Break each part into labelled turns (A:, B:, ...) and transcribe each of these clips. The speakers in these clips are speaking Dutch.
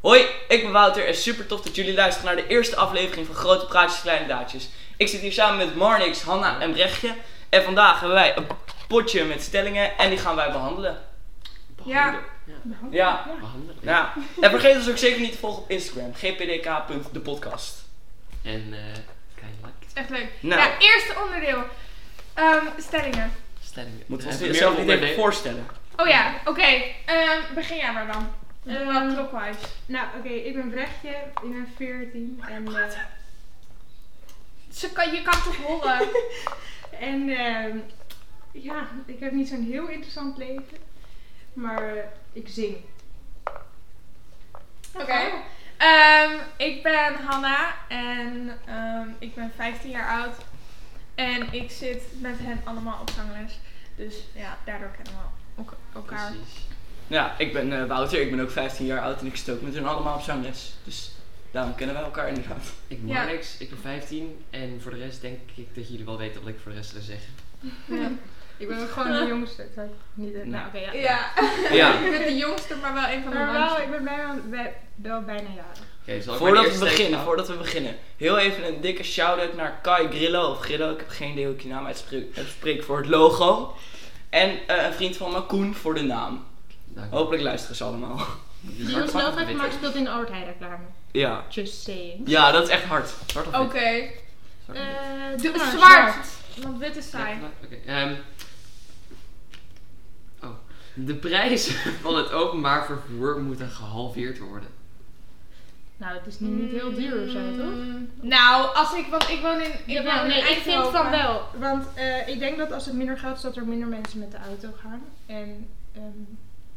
A: Hoi, ik ben Wouter en super tof dat jullie luisteren naar de eerste aflevering van Grote Praatjes Kleine Daadjes. Ik zit hier samen met Marnix, Hanna en Brechtje. En vandaag hebben wij een potje met stellingen en die gaan wij behandelen.
B: Ja.
C: Oh,
A: Ja, ja. En vergeet ons ook zeker niet te volgen op Instagram, gpdk.depodcast.
C: En eh, kan je like
B: Echt leuk.
A: Nou.
B: Nou, eerste onderdeel. Ehm, stellingen.
C: stellingen?
A: Moeten we ons
C: Heb je
A: dit
C: meer
A: zelf niet even
C: onderdelen?
A: voorstellen.
B: Oh ja, oké. Ehm, begin jij maar dan.
D: Ehm,
B: Uh, clockwise.
D: Nou, oké, ik ben Brechtje, ik ben 14 en, eh,
B: Ze kan, je kan toch horen?
D: en ehm, ja, ik heb niet zo'n heel interessant leven, maar eh, ik zing.
B: Oké. Ehm, ik ben Hanna en ehm, ik ben 15 jaar oud. En ik zit met hen allemaal op zangles. Dus ja, daardoor kennen we elk- elkaar.
C: Precies.
A: Ja, ik ben eh, Wouter, ik ben ook 15 jaar oud en ik zit ook met hun allemaal op zangles. Dus daarom kennen wij elkaar inderdaad.
C: Ik ben
B: Ja.
C: Alex, ik ben 15 en voor de rest denk ik dat jullie wel weten wat ik voor de rest wil zeggen.
D: Ja. ik ben ook gewoon de jongste. dat ik Niet, eh, nou, oké, ja.
B: Ja.
A: Ja.
B: ik ben de jongste, maar wel een van de
D: Maar
B: langste.
D: wel, ik ben bijna, bij- wel bijna jarig.
C: Oké, zal ik maar de
A: Voordat we
C: eerste
A: beginnen,
C: even-
A: voordat we beginnen, heel even een dikke shout-out naar Kai Grillo of Grillo. Ik heb geen idee hoe ik je naam uitspreek uitspreek voor het logo. En eh, een vriend van me, Koen, voor de naam.
C: Dank je.
A: Hopelijk luisteren ze allemaal.
C: Die
D: Die
C: hard
D: ons wel
C: van
D: heeft
C: dit.
D: maar speelt in de reclame.
A: Ja.
D: Just saying.
A: Ja, dat is echt hard.
C: Zwart of
B: Oh, Oké.
C: wit? Zwart of wit?
D: Eh,
B: Doe
D: doe maar,
B: zwart. Want wit is saai.
C: Ja, Oké. ehm, oh. De prijzen van het openbaar vervoer moeten gehalveerd worden.
D: Nou, het is nu niet heel duur of zo, toch?
B: Mm, Nou, als ik, want ik woon in. Ik,
D: Ja,
B: woon in
D: nee, ik vind
B: Eindhoven.
D: van wel. Want eh, ik denk dat als het minder gaat, is dat er minder mensen met de auto gaan. En ehm,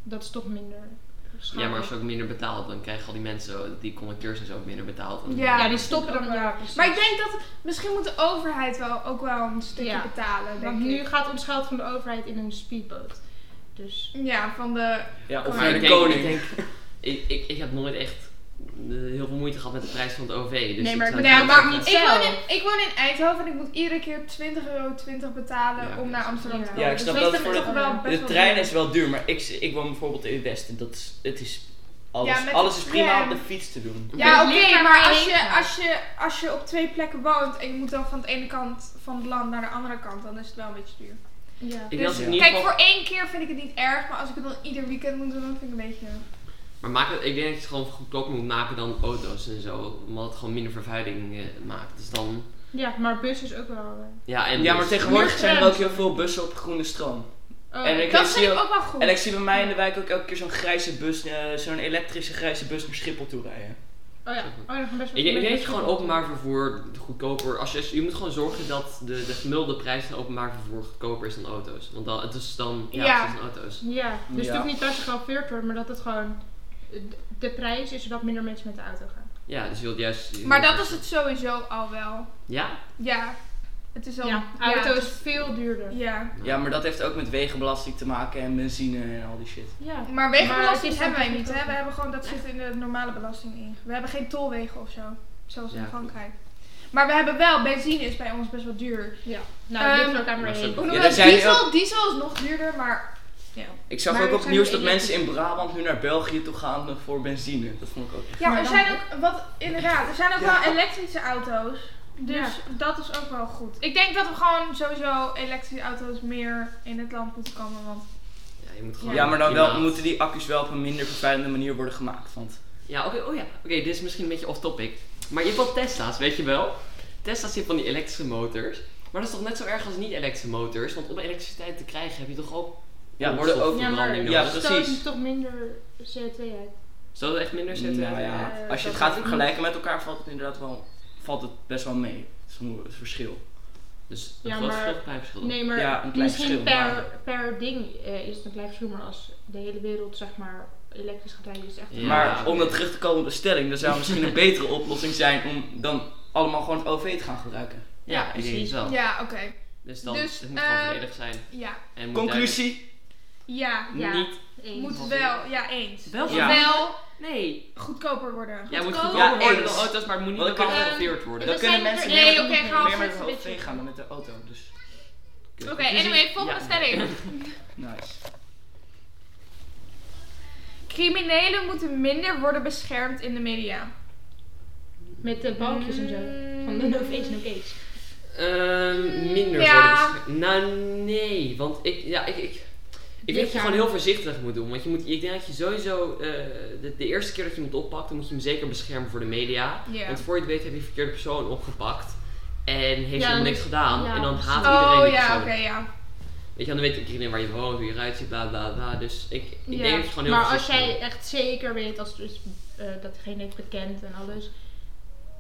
D: dat is toch minder
C: Ja,
D: schadelijk.
C: maar als je ook minder betaalt, dan krijgen al die mensen, die conducteurs en zo, ook minder betaald. En-
B: Ja,
D: Ja, die stoppen dan. Ja, precies.
B: Maar ik denk dat. Misschien moet de overheid wel ook wel een stukje
D: Ja,
B: betalen. Denk
D: Want nu
B: ik.
D: gaat ons geld van de overheid in een speedboot. Dus
B: Ja, van de.
A: Ja, of
B: Maar
A: voor
C: Maar
A: de
C: ik denk, ik,
A: koning.
C: denk ik, ik, ik heb nooit echt eh, heel veel moeite gehad met de prijs van het OV. Dus
D: Nee, maar
C: ik zou
D: ik bedoel,
C: het
D: het
C: wel
D: maakt
C: zeggen.
B: Ik
D: Zelf.
B: woon, in, ik woon in Eindhoven en ik moet iedere keer 20,20 euro betalen
C: Ja,
B: om naar
C: ja.
B: Amsterdam te
D: Ja,
B: komen.
A: ik snap
B: dus
A: dat
B: vind
A: voor
B: ik
A: de-
B: toch wel best
A: De
B: wel
A: trein
B: duur.
A: is wel duur, maar ik, ik woon bijvoorbeeld in West en dat is, het is alles,
B: Ja, met
A: alles
B: de
A: is prima
B: tram.
A: op de fiets te doen.
B: Ja,
D: Ik
B: oké,
D: leer
B: maar
D: daar maar
B: als
D: heen
B: je,
D: gaan.
B: als, je, als je op twee plekken woont en je moet dan van de ene kant van het land naar de andere kant, dan is het wel een beetje duur.
D: ja.
C: Ik denk dat het in ieder
B: Kijk,
C: geval-
B: voor één keer vind ik het niet erg, maar als ik het dan ieder weekend moet doen, dan vind ik het een beetje...
C: Maar maak het, ik denk dat je het gewoon goedkoper moet maken dan auto's en zo. Omdat het gewoon minder vervuiling eh, maakt. Dus dan...
D: ja, maar bus is ook wel. eh,
C: Ja, en
A: Ja,
C: dus-
A: maar tegenwoordig zijn er ook
D: grens.
A: heel veel bussen op groene stroom.
D: oh,
A: En ik-
B: dat
A: zie
B: vind ik
A: ook-
B: ook wel goed.
A: En ik zie bij mij in de wijk ook elke keer zo'n grijze bus, eh, zo'n elektrische grijze bus naar Schiphol toe rijden.
D: oh ja, oh, nog best wel.
C: Ik, denk- ik denk dat je gewoon openbaar vervoer goedkoper... Als je, als je moet gewoon zorgen dat de, de gemiddelde prijs van openbaar vervoer goedkoper is dan auto's. Want dan, het is dan... Ja,
B: Ja.
C: het is dan auto's.
D: Ja, dus
A: Ja.
D: het hoeft niet dat je gehalveerd wordt, maar dat het gewoon. de- De prijs is dat minder mensen met de auto gaan.
C: Ja, dus je wilt juist... je
B: Maar
C: wilt
B: dat is
C: juist-
B: het sowieso al wel.
C: Ja?
B: Ja, het is al...
D: Ja, auto is veel duurder.
B: Ja,
A: Ja, maar dat heeft ook met wegenbelasting te maken en benzine en al die shit.
D: Ja.
B: maar
D: Maar het
B: wegenbelasting
D: is
B: hebben wij
D: ook
B: niet, hè.
D: goedkoper.
B: We hebben gewoon, dat zit in de normale belasting in. We hebben geen tolwegen of zo, zoals in
C: Ja,
B: Frankrijk. Maar we hebben wel, benzine is bij ons best wel duur.
D: Ja. Nou, dit
B: Ehm,
D: ligt er ook aan maar
C: maar
D: heen.
C: ze-
B: Hoe noemen
A: Ja,
B: we
A: daar
B: dat?
A: zijn
B: diesel? Diesel is nog duurder, maar... Ja,
A: Ik zag
D: Maar
A: ook
D: er
A: op het
D: zijn
A: nieuws dat
D: elektrische-
A: mensen in Brabant nu naar België toe gaan eh, voor benzine. Dat vond ik ook.
B: ja
D: Maar
B: er
D: dan-
B: zijn ook, wat, inderdaad, er zijn ook
A: Ja.
B: wel elektrische auto's. Dus dat is ook wel goed. Ik denk dat we gewoon sowieso elektrische auto's meer in het land moeten komen, want...
C: Ja, je moet gewoon...
A: Ja, maar dan wel,
C: klimaat-
A: moeten die accu's wel op een minder vervuilende manier worden gemaakt. Want
C: Ja, oké, oh ja. Oké, dit is misschien een beetje off-topic. Maar je hebt wel Tesla's, weet je wel? Tesla's zitten van die elektrische motors. Maar dat is toch net zo erg als niet-elektrische motors? Want om elektriciteit te krijgen heb je toch ook...
A: ja, worden ook.
D: Ja, maar-
C: branding
A: Ja, dus-
C: nodig.
A: precies.
D: Stoot toch minder CO2 uit.
C: Zou dat echt minder
A: Nou
C: zetten?
A: ja,
D: eh,
A: als je
D: dat
A: het gaat
D: is-
A: vergelijken met elkaar, valt het inderdaad wel valt het best wel mee. Het is een het verschil.
C: Dus een
D: Ja,
C: groot
D: maar-
C: verschil, klein verschil.
D: Nee, maar
A: Ja, een klein
D: misschien
A: verschil,
D: per,
A: maar-
D: per ding eh, is het een klein verschil, maar als de hele wereld zeg maar elektrisch gaat rijden, is het echt...
C: Ja.
A: maar om dan terug te komen op de stelling, dan zou misschien een betere oplossing zijn om dan allemaal gewoon het OV te gaan gebruiken.
C: Ja, ik denk
D: precies.
C: het wel.
B: Ja, oké.
C: Dus dan,
B: Dus,
C: het moet
B: eh,
C: gewoon volledig zijn.
B: Ja.
C: En moet
A: Conclusie?
B: Ja.
D: Ja.
C: duidelijk- Niet...
D: Eens.
B: Moet wel, ja, eens.
C: Wel
B: Moet
A: Ja.
B: wel
C: Nee.
B: goedkoper worden.
C: Jij moet
B: Goedkoop.
C: goedkoper
A: Ja,
C: worden
A: eens.
C: dan auto's, maar het moet niet
A: Want
C: lokaal
A: dan-
C: gerenoveerd worden.
A: Dan
D: we
A: kunnen
D: zijn er
A: mensen
D: eerder
A: meer,
B: Nee, oké, ga
A: meer met het
B: alvast een
A: OV
B: beetje-
A: gaan dan met de auto. Dus
B: Oké,
C: Dus-
B: anyway, volgende
C: Ja.
B: stelling.
A: nice.
B: Criminelen moeten minder worden beschermd in de media. Mm.
D: Met de balkjes en zo. Van de no face, no case.
C: Ehm, minder
B: Ja.
C: worden beschermd. Nou, nee. Want ik, ja, ik, ik, ik denk dat je
D: Ja.
C: gewoon heel voorzichtig moet doen. Want je moet, ik denk dat je sowieso, eh, de, de eerste keer dat je hem oppakt, dan moet je hem zeker beschermen voor de media.
B: Ja.
C: Want voor je het weet heb je de verkeerde persoon opgepakt. En heeft
D: Ja,
C: helemaal
D: dan
C: niks
D: is-
C: gedaan.
D: ja,
C: en dan
D: precies.
C: haat iedereen
B: Oh
C: die
B: ja,
C: persoon.
B: oké, ja.
C: Weet je, dan weet iedereen waar je woont, hoe je eruit ziet, bla bla bla. Dus ik, ik
D: Ja,
C: denk dat je gewoon heel
D: maar als
C: voorzichtig
D: jij echt zeker weet, als dus, eh, dat degene heeft bekend en alles.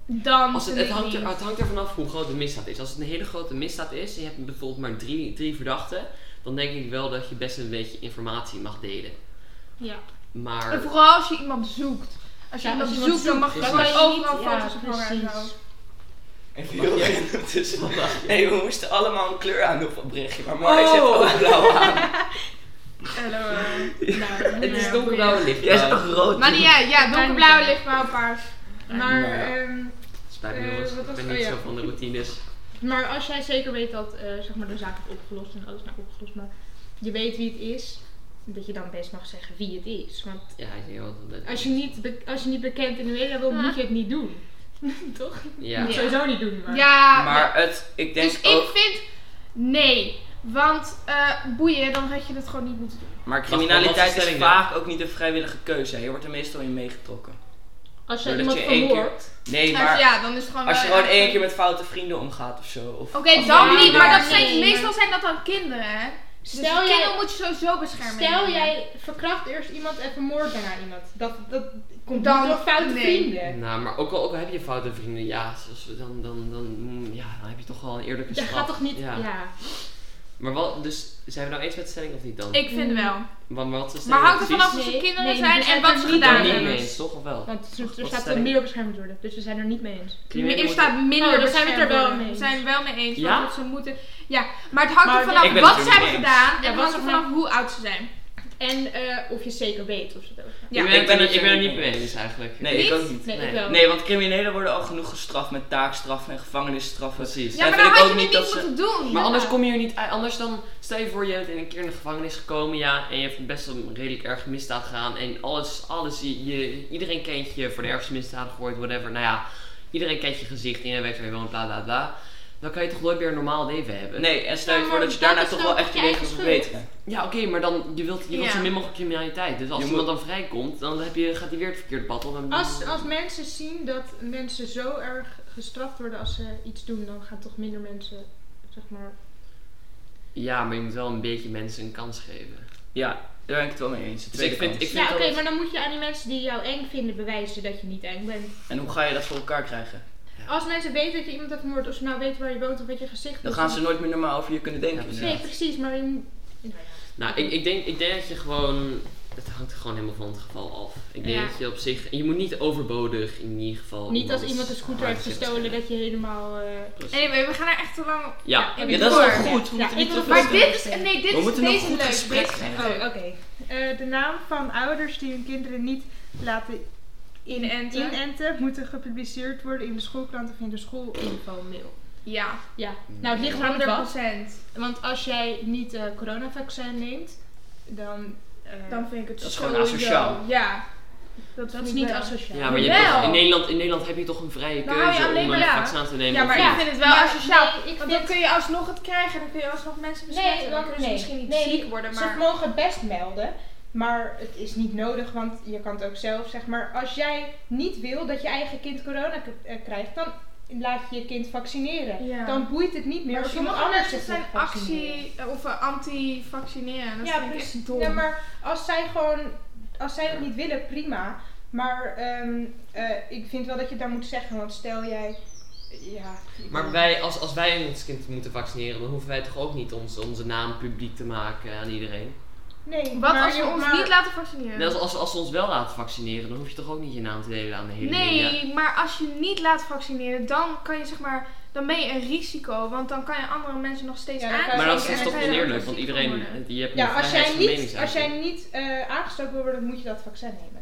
B: Dan
C: Als het,
B: vind
C: het,
B: ik
C: hangt er,
B: niet.
C: het hangt er vanaf hoe groot de misdaad is. Als het een hele grote misdaad is, en je hebt bijvoorbeeld maar drie, drie verdachten, dan denk ik wel dat je best een beetje informatie mag delen.
D: Ja.
C: Maar
B: En vooral als je iemand zoekt. Als je
D: Ja,
B: iemand
D: als je
B: zoekt,
D: iemand
B: dan mag
D: zoekt,
C: dan
B: je gewoon
C: kan
D: je niet-
B: overal
D: ja,
B: foto's ophangen en zo.
A: En
C: Mag jij?
A: veel tussen.
C: Wat dacht je?
A: Nee, we moesten allemaal een kleur aan doen van Brechtje, maar Marnix heeft
C: Oh.
A: ook blauw aan.
B: Hallo. eh.
D: Nou,
C: het is
D: ja,
C: donkerblauw en lichtblauw.
A: Jij is toch rood?
B: Maar niet uit, ja, donkerblauw,
D: Kan niet.
B: lichtblauw, paars.
D: Maar,
A: Nou ja.
D: ehm,
C: Spijt me
D: Eh,
C: jongens,
D: wat
C: ik
D: was-
C: ben
D: oh,
C: niet
D: ja.
C: zo van de routines.
D: maar als jij zeker weet dat eh, zeg maar de zaak is opgelost en alles nou opgelost, maar je weet wie het is, dat je dan best mag zeggen wie het is. Want
C: Ja, ik denk wel dat dat-
D: als je niet, be- als je niet bekend in de media wil, moet je het niet doen. Toch? Je
C: Ja.
D: moet het sowieso niet doen. Maar.
B: Ja,
A: Maar het, ik denk
B: dus
A: ook,
B: ik vind nee. Want eh, boeien, dan had je het gewoon niet moeten doen.
A: maar
C: Wacht, wat was
A: criminaliteit
C: de
A: is
C: stelling dan?
A: vaak ook niet een vrijwillige keuze. Je wordt er meestal in meegetrokken.
D: Als je
A: Doordat
D: iemand
A: je één keer-
D: vermoordt,
A: Nee,
B: Nou,
A: maar
B: ja, dan is het gewoon
A: als je
B: wel
A: gewoon
B: echt-
A: één keer met foute vrienden omgaat of zo. Of
B: Oké,
A: als
B: dan
A: je-
D: Ja,
B: niet, maar dat
D: nee,
B: zijn,
D: maar-
B: meestal zijn dat dan kinderen, hè? Dus
D: Stel
B: de
D: jij-
B: kinderen moet je sowieso beschermen.
D: Stel jij verkracht eerst iemand en vermoord daarna iemand. Dat, dat komt
B: Dan-
D: dan door
B: nee.
D: foute
A: Mm.
D: vrienden.
C: Nou, maar ook al, ook al heb je foute vrienden, ja, zoals we dan, dan, dan, mm, ja, dan heb je toch wel een eerlijke
D: Dat
C: straf.
D: gaat toch niet...
C: Ja.
D: Ja.
C: Maar wat, dus zijn we nou eens met de stelling of niet dan?
B: Ik vind
D: Mm.
B: wel.
C: Want wat is de
B: Maar
C: stelling
B: houdt er
C: precies?
B: vanaf of ze
D: Nee,
B: kinderen
D: nee,
B: zijn
D: we
B: en
D: zijn
B: wat
D: er
B: ze
D: niet
B: gedaan
D: aan.
C: niet
B: hebben.
C: mee eens, toch of wel?
D: Want er, er
C: Wat
D: staat
C: stelling?
D: er meer beschermd worden, dus we zijn er niet mee eens.
C: Criminelen
B: er
C: worden-
B: staat minder
D: Oh, daar zijn we het er wel
B: beschermd.
D: mee eens.
B: We zijn er wel mee eens,
C: Ja?
B: want ze moeten... Ja, maar het hangt
D: Maar
B: er
D: ik
B: vanaf
A: ben
B: wat
A: het
B: ze
A: er niet
B: hebben
A: mee
B: gedaan
D: Ja,
B: en
D: wat
B: het hangt er
D: er
B: vanaf hoe oud ze zijn.
D: En eh, of je zeker weet of ze het ook gaan.
B: Ja.
C: Ik ben, ik
A: Ik
C: ben,
A: ben
C: ik ben er
A: het
C: niet mee eens eigenlijk.
A: Nee, ik
B: Niet?
A: ook niet.
D: Nee,
C: Nee.
D: ik wel.
A: Nee, want criminelen worden al genoeg gestraft met taakstraffen en gevangenisstraffen.
C: Precies.
B: Ja,
A: Ja,
B: maar
A: vind
B: dan
A: ik
B: had
A: ook
B: je
A: niet
B: het
A: dat
B: niet
A: ze-
B: moeten doen.
C: Maar
D: Ja.
C: anders kom je er niet uit. Anders dan, stel je voor je bent in een keer in de gevangenis gekomen, ja, en je hebt best een redelijk erg misdaad gedaan. En alles, alles, je, je- iedereen kent je voor de ergste misdaden gegooid, whatever. Nou ja, iedereen kent je gezicht, iedereen weet waar je woont, bla bla bla. Dan kan je toch nooit meer een normaal leven hebben.
A: Nee, en stel je
D: Ja,
A: voor
D: maar
A: dat je
D: dat
A: daarna
D: is
A: toch
D: dan
A: wel echt
D: je
A: je leven wil
D: eigen
A: verbeteren.
C: Ja, oké, maar dan, je wilt, je wilt
B: Ja.
C: zo min mogelijk criminaliteit. Dus als
A: Je
C: iemand dan vrijkomt, dan heb je, gaat hij weer het verkeerde pad op. en-
D: Als, als mensen zien dat mensen zo erg gestraft worden als ze iets doen, dan gaan toch minder mensen, zeg maar...
C: Ja, maar je moet wel een beetje mensen een kans geven.
A: Ja, daar ben ik het wel mee eens. De
C: Dus
A: tweede
C: ik vind-
A: kans.
C: ik-
D: Ja, oké,
C: dat-
D: maar dan moet je aan die mensen die jou eng vinden bewijzen dat je niet eng bent.
A: En hoe ga je dat voor elkaar krijgen?
D: Als mensen weten dat je iemand hebt vermoord, of ze nou weten waar je woont of wat je gezicht is...
A: Dan gaan ze nooit meer normaal over je kunnen denken.
C: Ja,
A: inderdaad.
D: Nee, precies, maar je moet... Nou ja.
C: Nou, ik, ik, denk, ik denk dat je gewoon. Het hangt er gewoon helemaal van het geval af. Ik denk
B: Ja.
C: dat je op zich. Je moet niet overbodig in ieder geval.
D: Niet als iemand een scooter heeft gestolen, dat je helemaal... eh,
B: Anyway, we gaan er echt te lang op.
C: Ja.
A: Ja, dat is
B: Door.
A: wel goed. We
D: Ja,
A: moeten
D: ik
A: niet
D: wil
A: te
D: nog-
A: veel-
B: Maar dit is, nee, dit
A: We
B: is
A: moeten nog
B: deze
A: goed
B: leuk.
A: gesprek
B: Dit is
A: hebben.
B: echt leuk.
D: Oh, oké. Eh, de naam van ouders die hun kinderen niet laten
B: Inenten.
D: inenten moeten gepubliceerd worden in de schoolkrant of in de schoolinfomail.
B: Ja,
D: Ja, nou het ligt eraan wat.
B: 100%.
D: Want als jij niet het coronavaccin neemt, dan... eh,
B: Dan vind ik het
A: Dat is
B: zo-
A: gewoon asociaal.
B: Ja.
D: dat
B: vind
D: is
B: ik
D: niet
B: wel.
D: asociaal.
C: Ja, maar je hebt
B: Jawel.
C: toch- in, Nederland, in Nederland heb je toch een vrije
B: Nou, ja,
C: keuze
B: alleen
C: om
B: maar
C: een
B: ja.
C: vaccin te nemen.
B: Ja,
C: of
B: maar
C: niet.
B: ik vind het wel
D: Maar
B: asociaal.
D: nee, ik
B: want dan
D: vind-
B: kun je alsnog het krijgen en dan kun je alsnog mensen besmetten.
D: Nee,
B: dan
D: want
B: kunnen ze
D: nee.
B: misschien niet
D: Nee,
B: ziek worden,
D: Ze
B: maar...
D: mogen het best melden, maar het is niet nodig, want je kan het ook zelf, zeg maar. Als jij niet wil dat je eigen kind corona k- eh, krijgt, dan laat je je kind vaccineren.
B: Ja.
D: Dan boeit het niet meer
B: Maar
D: of iemand
B: sommige
D: anders
B: mensen
D: zich
B: zijn
D: laat vaccineren.
B: actie eh, of eh, anti-vaccineren. Dat
D: Ja,
B: vind ik echt
D: precies.
B: dom.
D: Ja, maar als zij gewoon, als zij dat niet willen, prima. Maar ehm, eh, ik vind wel dat je daar moet zeggen, want stel jij, ja. eh,
C: Maar wij, als, als wij ons kind moeten vaccineren, dan hoeven wij toch ook niet onze, onze naam publiek te maken aan iedereen.
D: Nee,
B: Wat
D: maar
B: als we
D: je-
B: ons
D: maar-
B: niet laten vaccineren?
C: Net als, als, als ze ons wel laten vaccineren, dan hoef je toch ook niet je naam te delen aan de hele media.
B: Nee, maar als je niet laat vaccineren, dan kan je zeg maar, dan ben je een risico, want dan kan je andere mensen nog steeds
D: Ja, dan kan je-
B: aansteken.
C: Maar dat is
B: en
C: dus
B: dan
C: toch
B: kan je er
C: oneerlijk,
B: ook
C: want
B: ziek van
C: iedereen,
B: worden.
C: je hebt
D: Ja,
C: een
D: als jij
C: vrijheid van
D: niet, als
C: meningsuiting.
D: jij niet eh, aangestoken wil worden, moet je dat vaccin nemen.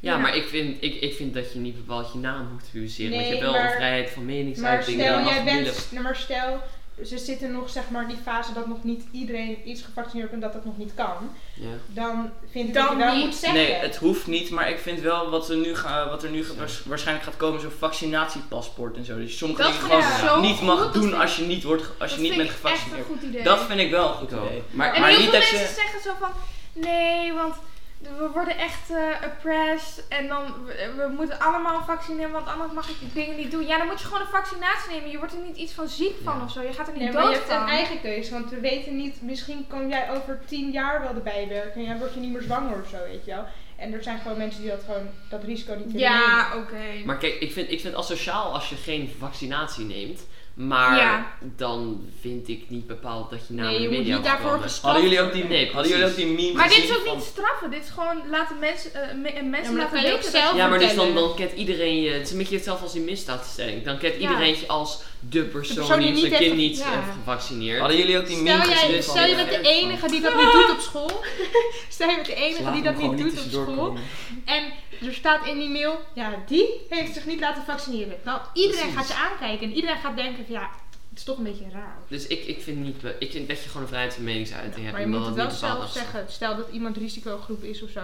C: Ja,
B: Ja.
C: maar ik vind, ik, ik vind dat je niet bepaald je naam moet publiceren. want je
D: Nee,
C: hebt wel
D: maar-
C: een vrijheid van
D: maar
C: meningsuiting. en
D: stel,
C: je mag
D: jij
C: willen.
D: bent, nou, maar stel, ze zitten nog zeg maar in die fase dat nog niet iedereen is gevaccineerd en dat dat nog niet kan,
C: Ja.
D: dan vind ik
B: Dan
D: dat je wel
B: niet.
D: moet zeggen.
A: Nee, het hoeft niet, maar ik vind wel wat er nu, ga- wat er nu ge- waars- waarschijnlijk gaat komen, zo'n vaccinatiepaspoort en zo. Dus sommige
B: Dat
A: dingen
B: vind ik
A: gewoon
B: zo
A: niet
B: goed,
A: mag
B: dat
A: doen
B: vind
A: als je niet, wordt, ge- als je niet bent
B: Dat
A: gevaccineerd.
B: vind ik echt een goed idee.
A: Dat vind ik wel een goed
C: Ik ook.
A: idee.
C: Maar,
B: en
C: maar
B: heel
A: niet
B: veel
A: dat je-
B: mensen zeggen zo van, nee, want we worden echt eh, oppressed en dan, we, we moeten allemaal vaccineren, want anders mag ik die dingen niet doen. Ja, dan moet je gewoon een vaccinatie nemen. Je wordt er niet iets van ziek van
C: Ja.
B: of zo. Je gaat er niet
D: Nee, maar je
B: dood
D: hebt een
B: van.
D: eigen keuze, want we weten niet, misschien kan jij over tien jaar wel erbij werken en jij wordt je niet meer zwanger of zo, weet je wel. En er zijn gewoon mensen die dat gewoon, dat risico niet willen nemen.
B: Ja, oké.
C: maar kijk, ik vind, ik vind het asociaal als je geen vaccinatie neemt. Maar
B: Ja.
C: dan vind ik niet bepaald dat je naar
D: Nee,
C: de
D: je moet
C: media
D: niet
C: mag
D: daarvoor
C: komen.
D: gestraft
A: Hadden jullie ook die,
C: Nee,
A: hadden jullie ook
C: precies.
A: die meme
B: Maar dit
A: gezien
B: is ook
A: van-
B: niet straffen. Dit is gewoon laten mensen, eh, me- eh, mensen
D: maar dat
B: laten
D: kan je ook
B: weten
D: zelf
C: Ja, maar dus dan,
D: vertellen.
C: dan kent iedereen je. Het is een beetje hetzelfde als die misdaadstelling. Dan kent
B: Ja.
C: iedereen je als de persoon,
D: persoon die
C: die zijn
D: niet
C: kind
D: heeft-
C: niet
D: ja.
C: heeft gevaccineerd.
A: Hadden jullie ook die meme
D: Stel jij,
A: gezien van-
D: stel je bent de enige die dat niet doet op school. Stel je bent de
C: Ze
D: enige
C: laten
D: die
C: hem
D: dat
C: gewoon
D: niet doet op
C: tussendoor
D: school.
C: komen.
D: En er staat in die mail, ja, die heeft zich niet laten vaccineren. Nou, iedereen
C: Precies.
D: gaat je aankijken en iedereen gaat denken van ja, het is toch een beetje raar.
C: Dus ik, ik, vind niet, be- ik vind dat je gewoon een vrijheid van meningsuiting hebt.
D: maar je
C: en dat
D: moet het
C: dat
D: wel
C: niet bepaald
D: zelf
C: afstaat.
D: zeggen. Stel dat iemand risicogroep is of zo.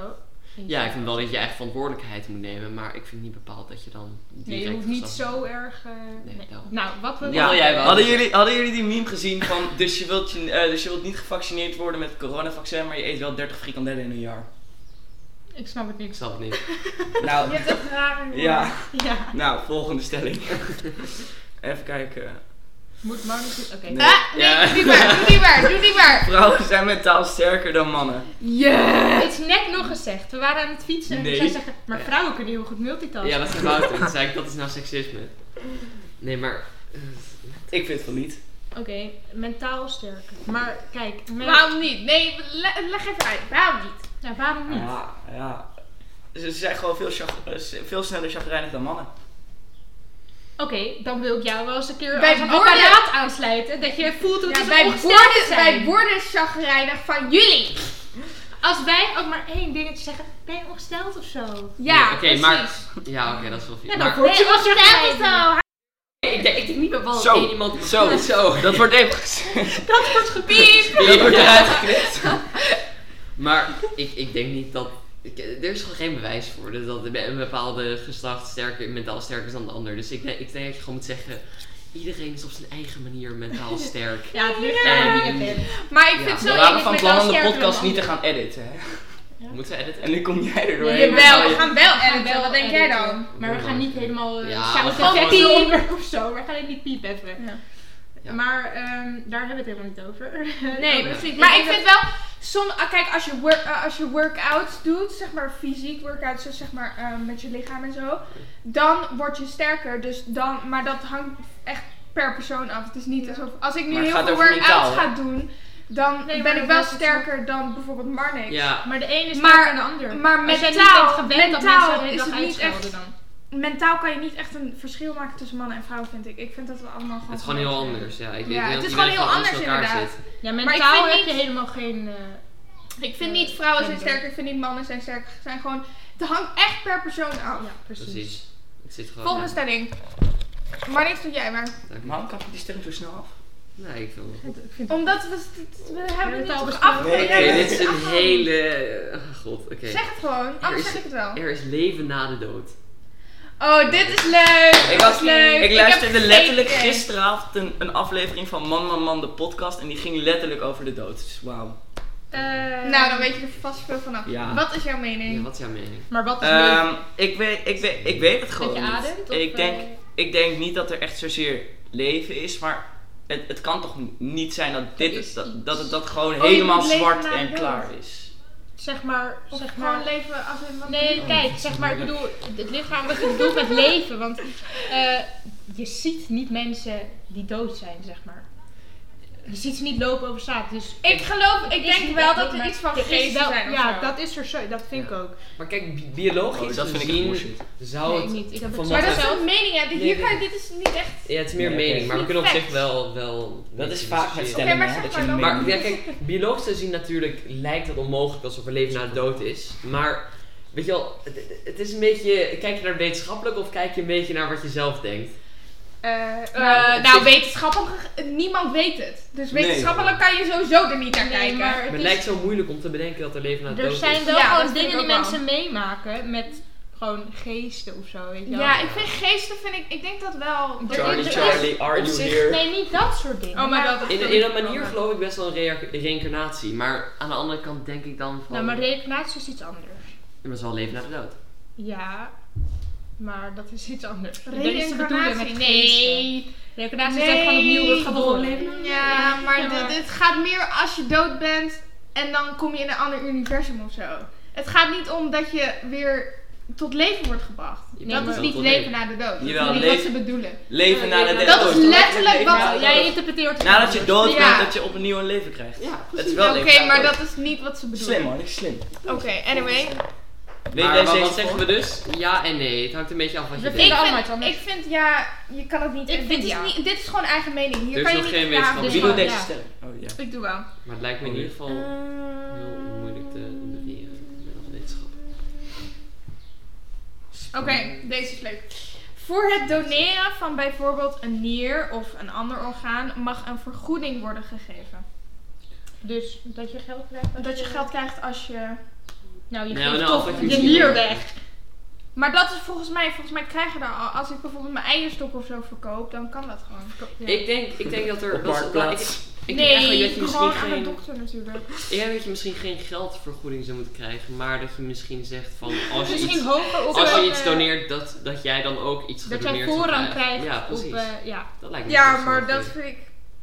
C: Ja, ik vind wel dat je eigen verantwoordelijkheid moet nemen. Maar ik vind niet bepaald dat je dan
D: Nee, je
C: direct
D: hoeft niet
C: gestraft
D: zo
C: wordt.
D: erg... eh,
C: Nee,
D: nee.
C: daarom.
D: Nou, wat we...
C: Ja, jij wel.
A: Hadden jullie, hadden jullie die meme gezien van dus je, wilt je, eh, dus je wilt niet gevaccineerd worden met het coronavaccin, maar je eet wel 30 frikandellen in een jaar?
D: Ik snap het
C: Ik
D: niet.
C: snap het niet.
A: Nou,
B: Je hebt echt rare woorden.
A: ja.
D: Ja.
A: Nou, volgende stelling. Even kijken.
D: Moet Magnus... Oké.
A: Nee.
B: Ah, nee,
A: Ja.
B: doe niet waar, doe niet waar, doe niet waar.
A: Vrouwen zijn mentaal sterker dan mannen.
D: Het is net nog gezegd. We waren aan het fietsen en
A: Nee.
D: zij zeggen, maar
C: Ja.
D: vrouwen kunnen heel goed multitasken.
C: Ja, dat is Wouter. Dat zei ik, dat is nou seksisme. Nee, maar...
A: Ik vind van niet.
D: Oké, mentaal sterker. Maar kijk, men-
B: Waarom niet? Nee, le- leg even uit. Waarom niet?
D: ja, waarom
B: Hmm.
D: niet?
A: Ja, ja. Ze ze zijn gewoon veel, chag- eh, s- veel sneller chagrijnig dan mannen.
D: Oké, dan wil ik jou wel eens een keer
B: Bij
D: bij als een
B: woorden-
D: apparaat aansluiten. Dat je voelt hoe het
B: Ja,
D: is
B: wij,
D: om ongesteld te
B: worden,
D: zijn.
B: wij worden chagrijnig van jullie.
D: Als wij ook maar één dingetje zeggen, ben je ongesteld of zo?
B: Ja,
C: Nee, oké,
B: precies.
C: maar- Ja, oké, dat is wel
D: Ja,
C: vies.
D: dan
C: Maar
D: word je wel
B: Zelfs
D: chagrijnig.
B: zo.
C: ik denk, ik denk niet bepaald
A: Zo.
C: dat één iemand... Zo, zo.
A: Dat wordt even gezegd.
D: Dat wordt gepiept.
A: Dat wordt eruit geknipt.
C: Maar ik, ik denk niet dat. Ik, er is gewoon geen bewijs voor dus dat een bepaalde geslacht sterker, mentaal sterker is dan de ander. Dus ik, denk- ik denk dat je gewoon moet zeggen: iedereen is op zijn eigen manier mentaal sterk.
D: Ja, het ligt
C: Ja.
D: aan wie je bent.
B: Maar ik
C: Ja,
B: vind het zo
A: We
B: eng.
A: waren
B: Ik
A: van
B: ben
A: plan
B: wel
A: om de
B: sterker
A: podcast
B: dan
A: niet te gaan editen. Hè?
C: Moeten we editen?
A: En nu kom jij er doorheen.
B: Jawel, we
A: Ja,
B: gaan wel
D: En
B: editen. Wat denk jij dan?
D: Maar we gaan niet helemaal
C: Ja,
D: uh,
C: we gaan
D: sound
B: gewoon-
D: onder of zo. We gaan het niet piepen even.
B: Ja.
C: Ja.
D: Maar ehm, daar hebben we het helemaal niet over.
B: Nee,
C: Ja.
B: precies. Maar ik vind wel... Som, ah, kijk, als je, work, eh, als je workouts doet, zeg maar fysiek workouts, dus zeg maar eh, met je lichaam en zo, dan word je sterker. Dus dan, maar dat hangt echt per persoon af. Het is niet alsof, als ik nu
A: Maar het
B: heel
A: gaat
B: veel
A: over
B: workouts
A: mentaal, hè?
B: ga doen, dan
D: Nee, maar
B: ben
D: dat
B: ik wel
D: is het zo.
B: sterker dan bijvoorbeeld Marnix.
C: Ja,
D: Maar de ene is
B: Maar-
D: sterker dan de ander.
B: maar
D: Als jij niet
B: mentaal-
D: bent gewend dat
B: mentaal
D: mensen de hele
B: is
D: dag
B: het niet
D: uitschelden
B: echt-
D: dan.
B: mentaal kan je niet echt een verschil maken tussen mannen en vrouwen, vind ik. Ik vind dat we allemaal gewoon.
C: het is gewoon heel anders. Ja, ik, ik
B: Ja,
C: denk
B: het
C: dat
B: is
C: iedereen
B: gewoon heel
C: in
B: anders
C: elkaar
B: inderdaad.
C: zit.
D: Ja,
B: ik
D: mentaal
B: vind
D: heb je
B: niet-
D: helemaal geen... eh,
B: Ik vind niet vrouwen zijn
D: Gender.
B: sterker, ik vind niet mannen zijn sterker. Het zijn gewoon. Het hangt echt per persoon af.
D: ja, precies.
C: Precies. Het zit gewoon.
B: Volgende stelling. Maar niks doe jij maar.
C: stelling.
A: Waarom kap je die stelling zo snel af?
C: Nee, ik vind het wel goed.
D: Ik vind
B: Omdat we, het- we hebben het
D: het al
B: niet
D: besproken.
B: af.
A: Nee,
C: Oké, dit is een hele. oh, God, oké.
B: Zeg het gewoon, anders
C: is-
B: zeg ik het wel.
C: Er is leven na de dood.
B: Oh, dit is leuk.
A: Ik,
B: dit is
A: was,
B: leuk.
A: ik luisterde
B: heb
A: letterlijk
B: gekeken.
A: gisteravond een, een aflevering van Man Man Man, de podcast. En die ging letterlijk over de dood. Dus wauw.
D: Eh,
B: Nou, dan weet je er vast veel vanaf.
A: Ja.
B: Wat is jouw
C: Ja,
B: mening?
C: wat is jouw mening?
D: Maar wat is leven?
A: Ehm, ik, weet, ik, weet, ik weet het gewoon
D: Dat je
A: niet.
D: ademt? of,
A: ik, denk,
D: eh,
A: ik denk niet dat er echt zozeer leven is, maar het, het kan toch niet zijn dat, dit,
D: is iets.
A: dat, dat het dat gewoon
B: Oh, je
A: helemaal
B: moet leven
A: zwart
B: na de
A: en
B: dood.
A: klaar is.
D: zeg maar...
B: Of
D: zeg
B: gewoon
D: maar
B: leven af en wat
D: Nee, kijk, zeg maar, ik bedoel, het ligt aan wat je bedoelt met leven. Want eh, je ziet niet mensen die dood zijn, zeg maar. Je ziet ze niet lopen over straat, dus...
B: Ik geloof, ik
D: Is
B: denk
D: niet
B: wel
D: echt,
B: dat er
D: maar
B: iets van
D: is
B: geesten
D: wel-
B: zijn of
D: Ja,
B: zo.
D: dat is er zo, dat vind ik ook.
C: Maar kijk, bi- biologisch
A: Oh, dat vind ik echt
C: gezien
A: bullshit.
C: zou
D: Nee,
C: het
D: ik niet. Ik heb het-
C: van
D: Maar
B: Maar
C: wat
B: dat is
C: uit-
B: een mening, hè? Dit,
C: Nee,
B: hier
C: nee.
B: kan, dit is niet echt.
C: Ja, het is meer
A: Ja,
C: mening,
A: oké.
C: maar we kunnen op
B: Fact.
C: zich wel... wel
A: Dat is
C: wel
A: vaak met
C: discussiëren.
A: stemmen,
B: maar
A: hè,
B: zeg
A: dat je
B: maar
A: een
B: dan-
A: mening
C: Maar
A: hebt.
C: ja, kijk, biologisch gezien natuurlijk lijkt het onmogelijk alsof er leven na de dood is. Maar, weet je wel, het, het is een beetje... Kijk je naar het wetenschappelijk of kijk je een beetje naar wat je zelf denkt?
B: Eh,
D: Eh,
B: nou,
C: op
B: nou,
C: zich-
B: wetenschappelijk, niemand weet het. Dus
A: Nee.
B: wetenschappelijk kan je sowieso er niet naar
D: Nee,
B: kijken.
D: maar-
C: Maar
D: Het
C: het
D: is-
C: lijkt zo moeilijk om te bedenken dat er leven na de
D: Er
C: dood
D: zijn
C: is.
D: wel
B: Ja, dat
D: gewoon
B: vind ik
D: dingen die
B: ook wel.
D: mensen meemaken met gewoon geesten of zo, weet je wel.
B: ja, ik vind geesten, vind ik, ik denk dat wel.
D: Charlie,
B: er
C: Charlie,
B: is-
C: Charlie, are
A: op
C: you
A: zich-
C: here?
D: Nee, niet dat soort dingen.
B: Oh, maar dat
C: In, in een manier geloof ik best wel een rea- reïncarnatie. Maar aan de andere kant denk ik dan van...
D: Nou, maar reïncarnatie is iets anders.
C: Dat is wel leven na de dood.
D: Ja, maar dat is iets anders. Dat is de
B: Reïncarnatie,
D: bedoeling met
B: nee.
D: geesten. Reïncarnatie is echt gewoon opnieuw wordt geboren.
B: Ja, maar
D: Ja, maar-
B: dit- het gaat meer als je dood bent en dan kom je in een ander universum of zo. Het gaat niet om dat je weer tot leven wordt gebracht.
C: Je
D: Nee,
B: dat
C: bent
B: is
C: wel
B: niet
C: tot
B: leven na de dood.
A: Jawel,
B: dat is niet
A: leven-
B: wat ze bedoelen.
A: Leven na de
C: Dat
A: dood.
B: is letterlijk wat-
A: na de
D: Nou, jij
A: dood.
D: interpreteert het
A: Nadat je
D: anders.
A: dood
B: Ja.
A: bent, dat je opnieuw een leven krijgt.
C: Ja.
A: Het is wel
B: Oké,
A: leven na de
B: maar
A: dood.
B: dat is niet wat ze bedoelen.
A: Slim hoor, niks slim.
B: Oké, anyway.
A: Weet
C: Maar
A: jij
C: wat-
A: zeker-
C: wat zeggen we dus? Ja en nee. Het hangt een beetje af wat je
D: We
C: denkt.
D: vinden-
B: Ik
D: allemaal iets
B: vind,
D: anders.
B: ik vind, ja, je kan het niet.
D: Ik
B: dit,
D: vind
B: is
D: ja.
B: niet dit is gewoon eigen mening. Hier
C: Er
B: kan
C: is
B: je
C: nog
B: niet
C: geen
B: in
C: wetenschap.
B: vragen.
D: Dus
A: Wie doet
D: gewoon,
A: deze
D: ja.
A: stelling? Oh ja.
B: Ik doe wel.
C: Maar het lijkt
A: Oh,
C: me in ieder geval
D: Eh,
C: heel
B: Ehm.
C: moeilijk te beweren eh, met als wetenschap.
B: Oké, deze is leuk. Voor het doneren van bijvoorbeeld een nier of een ander orgaan mag een vergoeding worden gegeven.
D: Dus dat je geld krijgt. als
B: Dat je geld krijgt als je.
D: Nou, je
C: Nou,
D: geeft
C: nou,
D: toch
C: of dat je
D: je
C: misschien-
D: nier weg.
B: Maar dat is volgens mij, volgens mij krijgen daar al. Als ik bijvoorbeeld mijn eierstok of zo verkoop, dan kan dat gewoon.
C: Ik denk, ik denk dat er...
A: Op
C: dat- dat-
A: marktplaats.
C: Ik, ik denk
B: nee,
C: eigenlijk dat je misschien
B: gewoon aan de
C: geen...
B: dokter natuurlijk.
C: Ik denk dat je misschien geen geldvergoeding zou moeten krijgen, maar dat je misschien zegt van als je
D: Misschien
C: iets,
D: hoger op
C: als je
D: eh,
C: iets doneert, dat, dat jij dan ook iets
D: Dat jij
C: gedoneerd
D: voorrang
C: zou krijgen.
D: krijgt
C: Ja,
D: op.
C: precies.
D: eh, ja.
C: dat lijkt me
B: Ja,
C: best wel
B: maar dat
C: goed.
B: vind ik.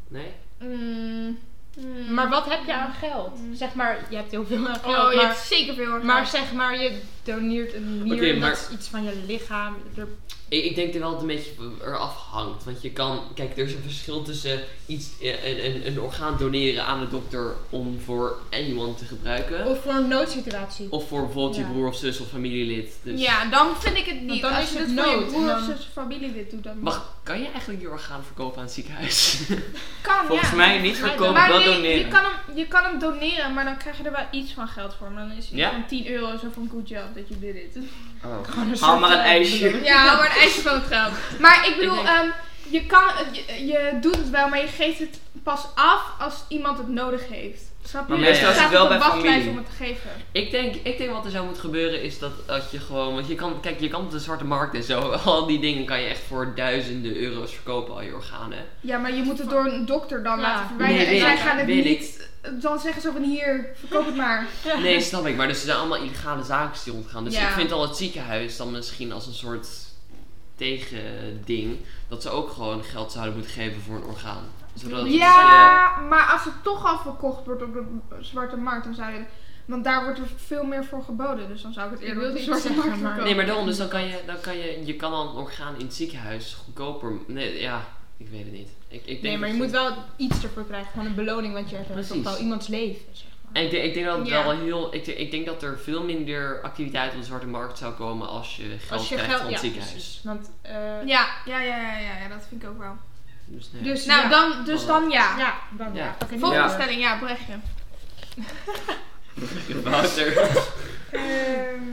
C: Nee?
B: mm, mm.
D: Maar wat heb je aan geld? Zeg maar, je hebt heel veel aan geld.
B: Oh, je
D: maar,
B: hebt zeker veel. aan
D: maar
B: geld.
D: zeg maar, je doneert een nier.
C: Oké,
D: en
C: maar-
D: dat is iets van je lichaam. Er-
C: Ik, ik denk er wel dat het een beetje eraf hangt. Want je kan, kijk, er is een verschil tussen iets, eh, een, een, een orgaan doneren aan de dokter om voor anyone te gebruiken.
D: Of voor een noodsituatie.
C: Of voor bijvoorbeeld
D: Ja.
C: je broer of zus of familielid. Dus.
B: Ja, dan vind ik het niet.
D: dan
B: als
D: is
B: je
D: het
B: dit voor je
D: nood en
B: broer of
D: dan-
B: zus of familie dit doet, dan
C: Wacht, kan je eigenlijk je orgaan verkopen aan het ziekenhuis?
B: kan
A: Volgens
B: ja.
A: mij niet
D: Maar-
A: verkopen,
B: Maar
A: wel
B: nee, je
A: doneren.
B: kan, hem, je kan hem doneren, maar dan krijg je er wel iets van geld voor. Maar dan is het
C: Ja?
B: van 10 euro zo van good job dat je dit doet.
C: Oh.
D: Gewoon een
A: Haal maar
D: soort,
A: een
D: eh,
A: ijsje.
B: Ja, maar een eisje van het geld. Maar ik bedoel,
C: Ik denk-
B: ehm, je, kan, je, je doet het wel, maar je geeft het pas af als iemand het nodig heeft. Snap je?
A: Maar
B: Dus Je
C: meestal is
B: staat
A: het wel
B: op een
A: bij
B: wachtlijst
A: familie.
B: om het te geven.
C: Ik denk, ik denk wat er zou moeten gebeuren is dat, dat je gewoon. Want je kan, kijk, je kan op de zwarte markt en zo. Al die dingen kan je echt voor duizenden euro's verkopen, al je organen.
B: Ja, maar je moet het door een dokter dan
D: Ja.
B: laten verwijderen.
C: Nee,
B: en zij
C: weet ik,
B: gaan het
C: weet ik.
B: niet... Dan zeggen ze van hier, verkoop het maar.
C: Nee, snap ik. Maar dus er zijn allemaal illegale zaken die rondgaan. Dus
B: Ja.
C: ik vind al het ziekenhuis dan misschien als een soort tegending. Dat ze ook gewoon geld zouden moeten geven voor een orgaan. Zodat het, eh,
B: Ja, maar als het toch al verkocht wordt op de zwarte markt, dan zou je. Want daar wordt er veel meer voor geboden, dus dan zou ik het
D: Ik
B: eerder op
D: wilde
B: de
D: iets
B: zwarte
D: zeggen,
B: markt
D: maar-
B: verkopen.
C: nee, maar daarom. Dus dan kan je, dan kan je, je kan al een orgaan in het ziekenhuis goedkoper. Nee, ja, ik weet het niet. Ik, ik denk
D: Nee, maar je
C: dat-
D: moet wel iets ervoor krijgen. Gewoon een beloning, want je hebt
C: Precies.
D: wel iemands leven, zeg maar.
C: En ik denk, ik denk dat het
B: Ja.
C: wel heel. Ik, denk- ik denk dat er veel minder activiteit op de zwarte markt zou komen als je geld krijgt van het ziekenhuis.
D: precies. Want, eh,
B: Ja, ja, ja, ja, ja, ja, dat vind ik ook wel.
C: Dus nee.
D: dus,
B: nou,
D: ja.
B: dan, dus dan ja.
D: Ja, dan ja.
C: Ja.
D: Oké, nu
B: Volgende
A: Ja.
B: stelling, ja, Brechtje.
C: Wouter.
D: Ehm,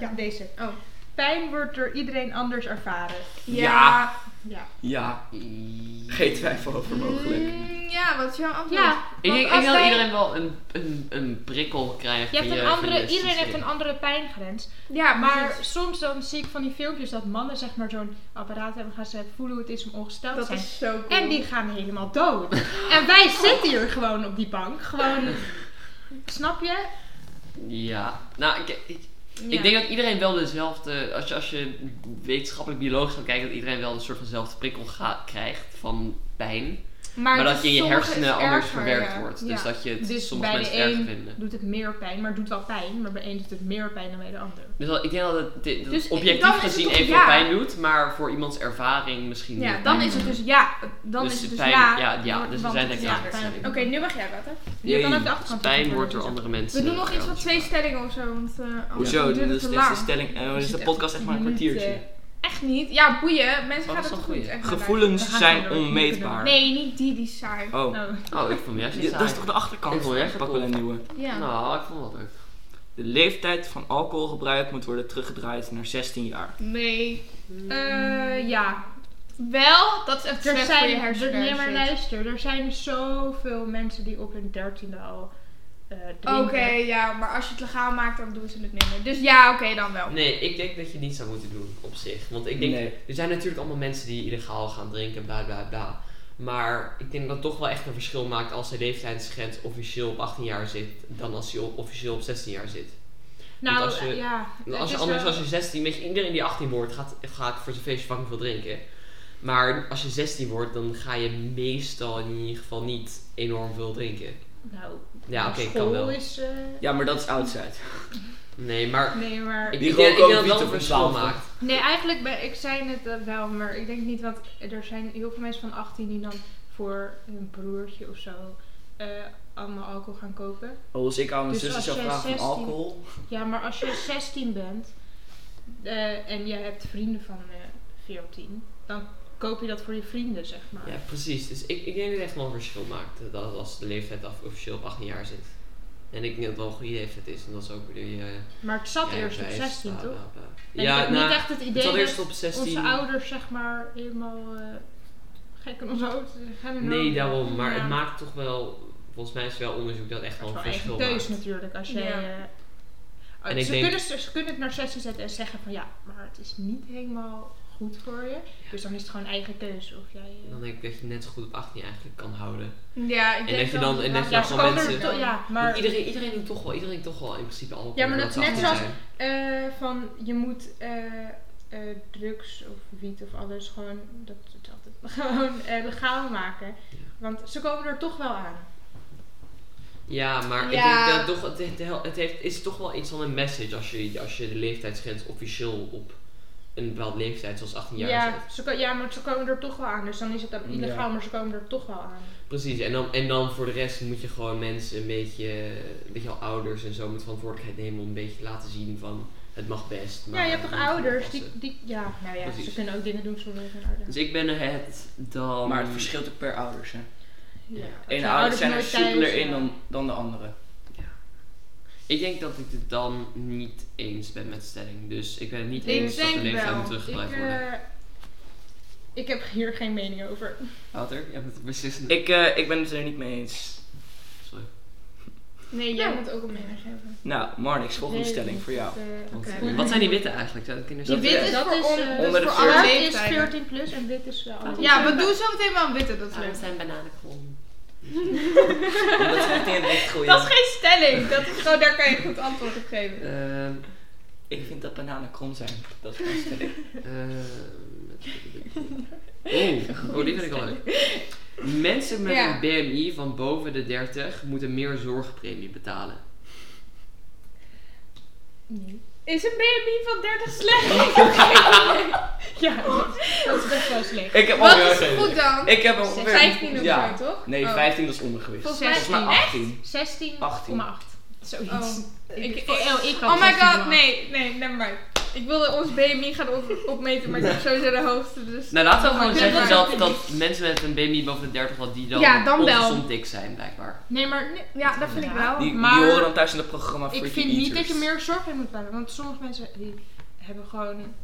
D: Ja, deze.
B: Oh.
D: Pijn wordt door iedereen anders ervaren.
B: Ja.
D: Ja.
A: Ja, geen twijfel over mogelijk.
B: Mm, ja, wat is jouw antwoord?
D: Ja.
C: Ik denk, ik
D: als
C: denk dat
D: jij-
C: iedereen wel een, een, een prikkel krijgt.
D: Je hebt
C: van
D: een
C: van
D: andere,
C: je
D: iedereen heeft
C: systeem.
D: een andere pijngrens.
B: Ja,
D: Maar
B: maar
D: soms dan zie ik van die filmpjes dat mannen zeg maar zo'n apparaat hebben gaan ze voelen hoe het is om ongesteld te
B: dat
D: zijn.
B: is zo cool.
D: En die gaan helemaal dood. en wij zitten hier gewoon op die bank. Gewoon, snap je?
C: Ja. Nou, ik, ik,
B: Ja.
C: ik denk dat iedereen wel dezelfde. Als je, als je wetenschappelijk biologisch gaat kijken, dat iedereen wel een soort vanzelfde prikkel ga- krijgt van pijn. Maar, dat je in je
B: sommige is
C: hersenen anders
B: erger,
C: verwerkt
B: ja.
C: wordt.
B: Ja.
C: Dus dat je het
D: Dus
C: sommige
D: bij de
C: mensen erger
D: een-
C: vinden.
D: Doet het meer pijn, maar doet wel pijn. Maar bij één doet het meer pijn dan bij de ander.
C: Dus wel- ik denk dat het dit- dat
B: Dus ik-
C: objectief
B: dan is het
C: gezien
B: toch
C: even
B: ja.
C: pijn doet, maar voor iemands ervaring misschien
B: Ja,
C: niet.
B: dan is het dus ja. Dan
C: Dus
B: is het dus
C: pijn-
B: ja.
C: ja, ja,
B: want-
C: dus we
B: want
C: zijn
B: het
C: denk ik
B: is
C: aan het
B: ja.
C: stelling.
B: Oké, nu mag jij water.
D: Je kan
C: Jee,
D: ook de achterkant
C: dus Pijn
D: ervan
C: wordt door
D: lezen.
C: andere mensen.
B: We doen nog iets van
C: ergens
B: twee stellingen of zo, want eh anders
A: Hoezo?
B: duurt het
A: Dit is
B: te
A: deze
B: lang.
A: stelling. eh,
D: We
A: Is de
D: zitten
A: podcast
D: echt
A: echt maar een
D: tien
A: kwartiertje?
D: minuten.
B: Echt niet. Ja, boeien. Mensen
C: Oh,
B: gaan
C: dat
B: het
C: is
B: toch
C: wel
B: niet
C: goeie.
B: echt naar
D: We
A: Gevoelens
D: gaan
A: zijn
D: door.
A: onmeetbaar.
B: luisteren. Nee, niet die, die is saai.
A: Oh,
D: Nou,
C: Oh, ik vond hem juist niet
A: dit- dat is toch de achterkant?
C: Ik wil echt
A: Ik pak wel een nieuwe.
B: Ja.
C: Nou, ik vond dat leuk.
A: De leeftijd van
C: Hmm.
A: alcoholgebruik moet worden teruggedraaid naar 16 jaar.
B: Nee.
D: eh, ja.
B: Wel, dat is echt
D: Er
B: slecht voor je
D: zijn, er-
B: hersenen.
D: nee, maar
B: shit.
D: luister, er zijn zoveel mensen die op hun dertiende al eh
B: Oké,
D: drinken.
B: ja, maar als je het legaal maakt, dan doen ze het minder. Dus ja, oké, dan wel.
C: Nee, ik denk dat je het niet zou moeten doen op zich. Want ik denk,
A: Nee.
C: er zijn natuurlijk allemaal mensen die illegaal gaan drinken, bla bla bla. Maar ik denk dat het toch wel echt een verschil maakt als de leeftijdsgrens officieel op 18 jaar zit, dan als die op- officieel op 16 jaar zit.
D: Nou,
C: Want als je-
D: ja.
C: Want
D: het
C: Als je,
D: is
C: anders
D: wel-
C: als je 16, weet je, iedereen die 18 wordt gaat, gaat voor zijn feestje fucking veel drinken. Maar als je 16 wordt, dan ga je meestal in ieder geval niet enorm veel drinken.
D: Nou,
C: Ja,
D: op
C: oké, kan
D: school
C: wel.
D: is... eh,
A: Ja, maar dat is oudside.
C: Nee, maar
D: Nee, maar...
C: ik,
A: Die
C: ik denk ik
A: roken
C: denk
A: ook wiet
C: dat het wel een
A: op een
C: verschil
A: tafel.
C: maakt.
D: Nee, eigenlijk, ben, ik zei het eh, wel, maar ik denk niet, want er zijn heel veel mensen van 18 die dan voor hun broertje of zo eh, allemaal alcohol gaan kopen.
A: Oh, als ik aan mijn
D: Dus
A: zussen
D: als
A: zou
D: jij
A: vragen om
D: 16
A: alcohol.
D: Ja, maar als je 16 bent eh, en jij hebt vrienden van eh 14, dan koop je dat voor je vrienden, zeg maar.
C: Ja, precies. Dus ik, ik denk dat het echt wel een verschil maakt. eh, Dat als de leeftijd af, officieel op 18 jaar zit. En ik denk dat het wel een goede leeftijd is. En dat is ook weer die... eh,
D: Maar het zat eerst op
C: rijbewijs,
D: 16,
C: bla,
D: toch?
C: bla, bla.
D: En
C: eh, Ja,
D: ik heb
C: nou,
D: niet echt het
C: het zat
D: idee
C: eerst
D: dat
C: op 16.
D: onze ouders, zeg maar, helemaal eh, gek in ons hoofd gaan. en
C: Nee,
D: dan-
C: daarom. Maar
D: Ja.
C: het maakt toch wel... Volgens mij is wel onderzoek dat echt
D: Dat
C: wel een
D: is wel eigen
C: verschil
D: keus
C: maakt.
D: natuurlijk. Als jij,
B: Ja.
D: eh,
C: En ik
D: ze,
C: denk-
D: kunnen, ze, ze kunnen het naar 16 zetten en zeggen van ja, maar het is niet helemaal goed voor je. Dus dan is het gewoon eigen keus. Of jij, eh,
C: Dan denk ik dat je net zo goed op 18 eigenlijk kan houden.
B: Ja, ik
C: En
B: denk
C: dat je dan- en dat je
D: ja,
C: dan
D: ze
C: gewoon
D: komen er
C: mensen-
D: toch- ja,
C: Maar
D: maar
C: iedereen, iedereen doet toch wel, iedereen toch wel in principe alcohol.
D: Ja, maar
C: omdat
D: dat
C: ze
D: is net
C: 18
D: zoals-
C: zijn.
D: eh, van je moet eh, eh, drugs of wiet of alles gewoon, dat, dat, gewoon eh, legaal maken. Want ze komen er toch wel aan.
C: Ja, maar
B: Ja.
C: ik denk dat toch, het, het, hel- het heeft, is toch wel iets van een message als je, als je de leeftijdsgrens officieel op een bepaalde leeftijd, zoals 18 jaar, zet.
D: Ja, ze, ko- ja, maar ze komen er toch wel aan. Dus dan is het dan illegaal,
A: Ja.
D: maar ze komen er toch wel aan.
C: Precies, en dan, en dan voor de rest moet je gewoon mensen een beetje, een beetje al ouders en zo met verantwoordelijkheid nemen om een beetje te laten zien van het mag best. Maar
D: ja, je hebt toch
C: je moet
D: ouders die,
C: oppassen.
D: die. Ja, nou ja,
C: Precies.
D: ze kunnen ook dingen doen zonder hun ouders.
C: Dus ik ben het dan.
A: Maar het verschilt ook per ouders, hè.
D: Ja.
A: De ene
D: Zijn
A: ouders zijn er
D: nooit thuis,
A: soepeler in
D: ja.
A: dan, dan de andere.
C: Ik denk dat ik het dan niet eens ben met de stelling. Dus ik ben het niet
B: Ik
C: eens dat de
B: denk
C: leeftijd
B: wel.
C: moet
D: Ik,
C: teruggedraaid worden.
D: eh, ik heb hier geen mening over.
C: Wouter, je hebt het beslissend.
A: Ik, eh, ik ben het er niet mee eens.
C: Sorry.
B: Nee, jij
D: jij
B: moet ook een mening hebben.
A: Nou, Marnix, volgende
D: Nee,
A: stelling voor jou.
D: dat, eh,
C: Want,
B: Oké.
C: eh, Wat zijn die witte eigenlijk? Zou dat kunnen
A: Die
C: zijn?
A: witte-
B: is
D: dat
B: voor
D: is,
B: on-
D: eh,
B: dat
A: onder
B: is
A: de
B: voor alle
D: 14 is
B: leeftijden.
D: 14 plus en wit is eh, alles.
B: Ja, we doen zo meteen wel een witte, dat is leuk.
C: zijn bananenkool.
A: Omdat ze meteen het recht gooien.
B: Dat is geen stelling, dat is gewoon, daar kan je goed antwoord op geven.
C: Ehm,
A: Ik vind dat bananen krom zijn. Dat is mijn stelling.
C: Oeh, ehm, oh, die vind ik wel leuk. Mensen met
B: Ja.
C: een BMI van boven de 30 moeten meer zorgpremie betalen.
D: Nee.
B: Is een BMI van 30 slecht?
D: Ja, dat is best wel slecht.
A: Ik heb
C: Oh,
B: Wat
A: ongeveer-
B: is goed dan?
A: Ik heb ongeveer...
B: 15 of
A: ja.
B: zo, toch?
A: Nee,
B: Oh.
A: 15 dat is ondergewicht.
D: Volgens mij
A: Volgens mij 18.
D: 16,8.
A: 18,8.
D: Zoiets.
B: Oh.
D: Ik,
B: Ik-
D: oh, oh, ik had
B: Oh my
D: 16,8.
B: god, nee, nee, nevermind. Ik wilde ons BMI gaan op- opmeten, maar ik heb sowieso de hoogste, dus...
C: Nou, laten we
B: Oh,
C: gewoon
B: maar
C: zeggen dat,
B: dit-
C: dat mensen met een BMI boven de 30 dat die dan,
D: Ja, dan wel.
C: ongezond dik zijn, blijkbaar.
D: Nee, maar nee,
B: Ja, dat vind ik wel.
A: Die,
D: Maar-
A: die horen dan thuis in het programma
D: ik
A: Nou, Freaky
D: vind niet dat je
A: Eaters.
D: meer zorg in moet betalen. Want sommige mensen die hebben gewoon een,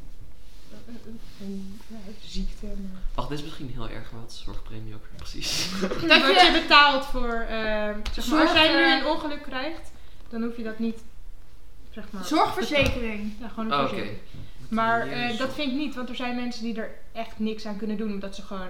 D: een- een- een ziekte. maar-
C: Wacht, dit is misschien heel erg, maar wat is zorgpremie ook weer precies?
D: Dat
B: Wat
D: je betaalt voor. ehm zeg maar, als
B: Zorg,
D: jij nu
B: eh,
D: een ongeluk krijgt, dan hoef je dat niet. Zeg maar,
B: Zorgverzekering.
D: Ja, gewoon een
C: Oh, Oké.
D: verzekering. Maar
C: Meer
D: eh, dat
C: zorg-
D: vind ik niet, want er zijn mensen die er echt niks aan kunnen doen, omdat ze gewoon.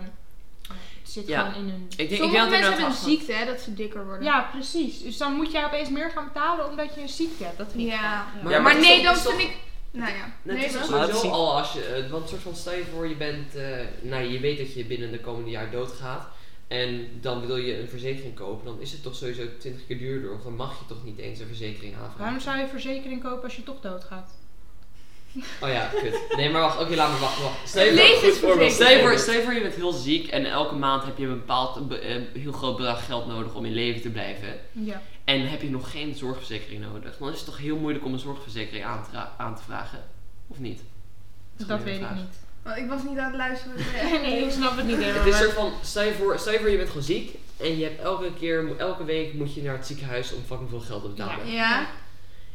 D: Het zit
C: Ja.
D: gewoon in hun.
C: Ik denk, ik
B: Sommige
C: denk
B: mensen hebben een
C: dat
B: ziekte, hè, dat ze dikker worden.
D: Ja, precies. Dus dan moet jij opeens meer gaan betalen omdat je een ziekte hebt. Dat vind ik.
B: Ja.
D: wel-
C: Maar-
B: Maar,
A: Ja, het is
B: nee,
C: toch-
B: dan
C: het is toch-
B: vind ik... Nou ja.
C: Nee,
B: Nee,
C: het is
B: wel.
A: wel- Maar dat
C: sowieso
A: zie-
C: al als je, eh, want soort van stel je voor je bent, eh, nou je weet dat je binnen de komende jaar doodgaat en dan wil je een verzekering kopen, dan is het toch sowieso 20 keer duurder of dan mag je toch niet eens een verzekering
D: Waarom
C: aanvragen.
D: zou je verzekering kopen als je toch doodgaat?
C: Oh ja, kut. Nee maar wacht, oké laat maar wacht, wacht. Stel je voor-
B: Levensverzekering.
C: Stel je, voor, stel je voor je bent heel ziek en elke maand heb je een bepaald be- eh, heel groot bedrag geld nodig om in leven te blijven.
D: Ja.
C: En heb je nog geen zorgverzekering nodig, dan is het toch heel moeilijk om een zorgverzekering aan te, ra- aan te vragen. Of niet?
D: Dat,
C: Dat is
D: weet
C: een
D: ik
C: vraag.
D: niet.
B: Want ik was niet aan het luisteren.
D: nee, ik snap het niet helemaal.
C: Het is soort van, stel je, voor, stel je voor je bent gewoon ziek en je hebt elke keer, elke week moet je naar het ziekenhuis om fucking veel geld te betalen.
B: Ja.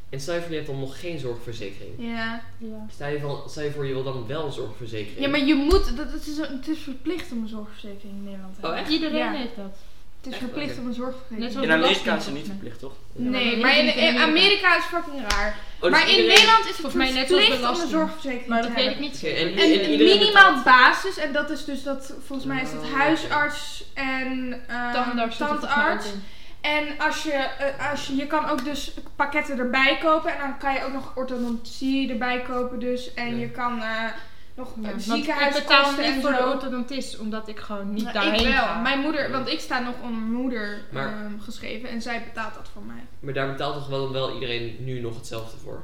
C: En stel je voor je hebt dan nog geen zorgverzekering.
B: Ja.
D: Ja.
C: Stel je, van, stel je voor je wil dan wel een zorgverzekering.
B: Ja, maar je moet, dat, het, is, het is verplicht om een zorgverzekering in Nederland te
C: Oh,
B: hebben.
C: echt?
D: Iedereen
B: Ja.
D: heeft dat.
B: Het is
C: Oh, Echt?
B: verplicht
C: Oké.
B: om een zorgverzekering
D: Net
B: te
D: zoals
A: In
B: hebben.
A: Amerika is het niet verplicht, toch?
B: Nee, maar in, in Amerika is het fucking raar.
C: Oh, dus
B: maar in
C: iedereen-
B: Nederland is het
D: Volgens mij net zoals
B: verplicht om een
D: belasting.
B: zorgverzekering
D: Maar
B: te
D: dat weet
B: hebben.
D: ik niet
C: Oké, en,
D: zeker.
C: en
B: En
C: iedereen
B: een
C: betaalt-
B: minimaal basis, en dat is dus dat, volgens mij is dat
C: Oh,
B: huisarts en eh,
D: Tandarts. zit er volgens mij ook
B: tandarts.
D: in.
B: En als je, eh, als je, je kan ook dus pakketten erbij kopen en dan kan je ook nog orthodontie erbij kopen dus. En
C: Ja.
B: je kan eh, nog eh,
D: Ja, want ik betaal
B: ziekenhuiskosten
D: niet
B: en
D: voor de
B: zo.
D: orthodontist, omdat ik gewoon niet
B: Nou,
D: daarheen
B: ik wel.
D: ga.
B: Mijn moeder, want ik sta nog onder mijn moeder
C: Maar-
B: ehm, geschreven en zij betaalt dat voor mij.
C: Maar daar betaalt toch wel, wel iedereen nu nog hetzelfde voor?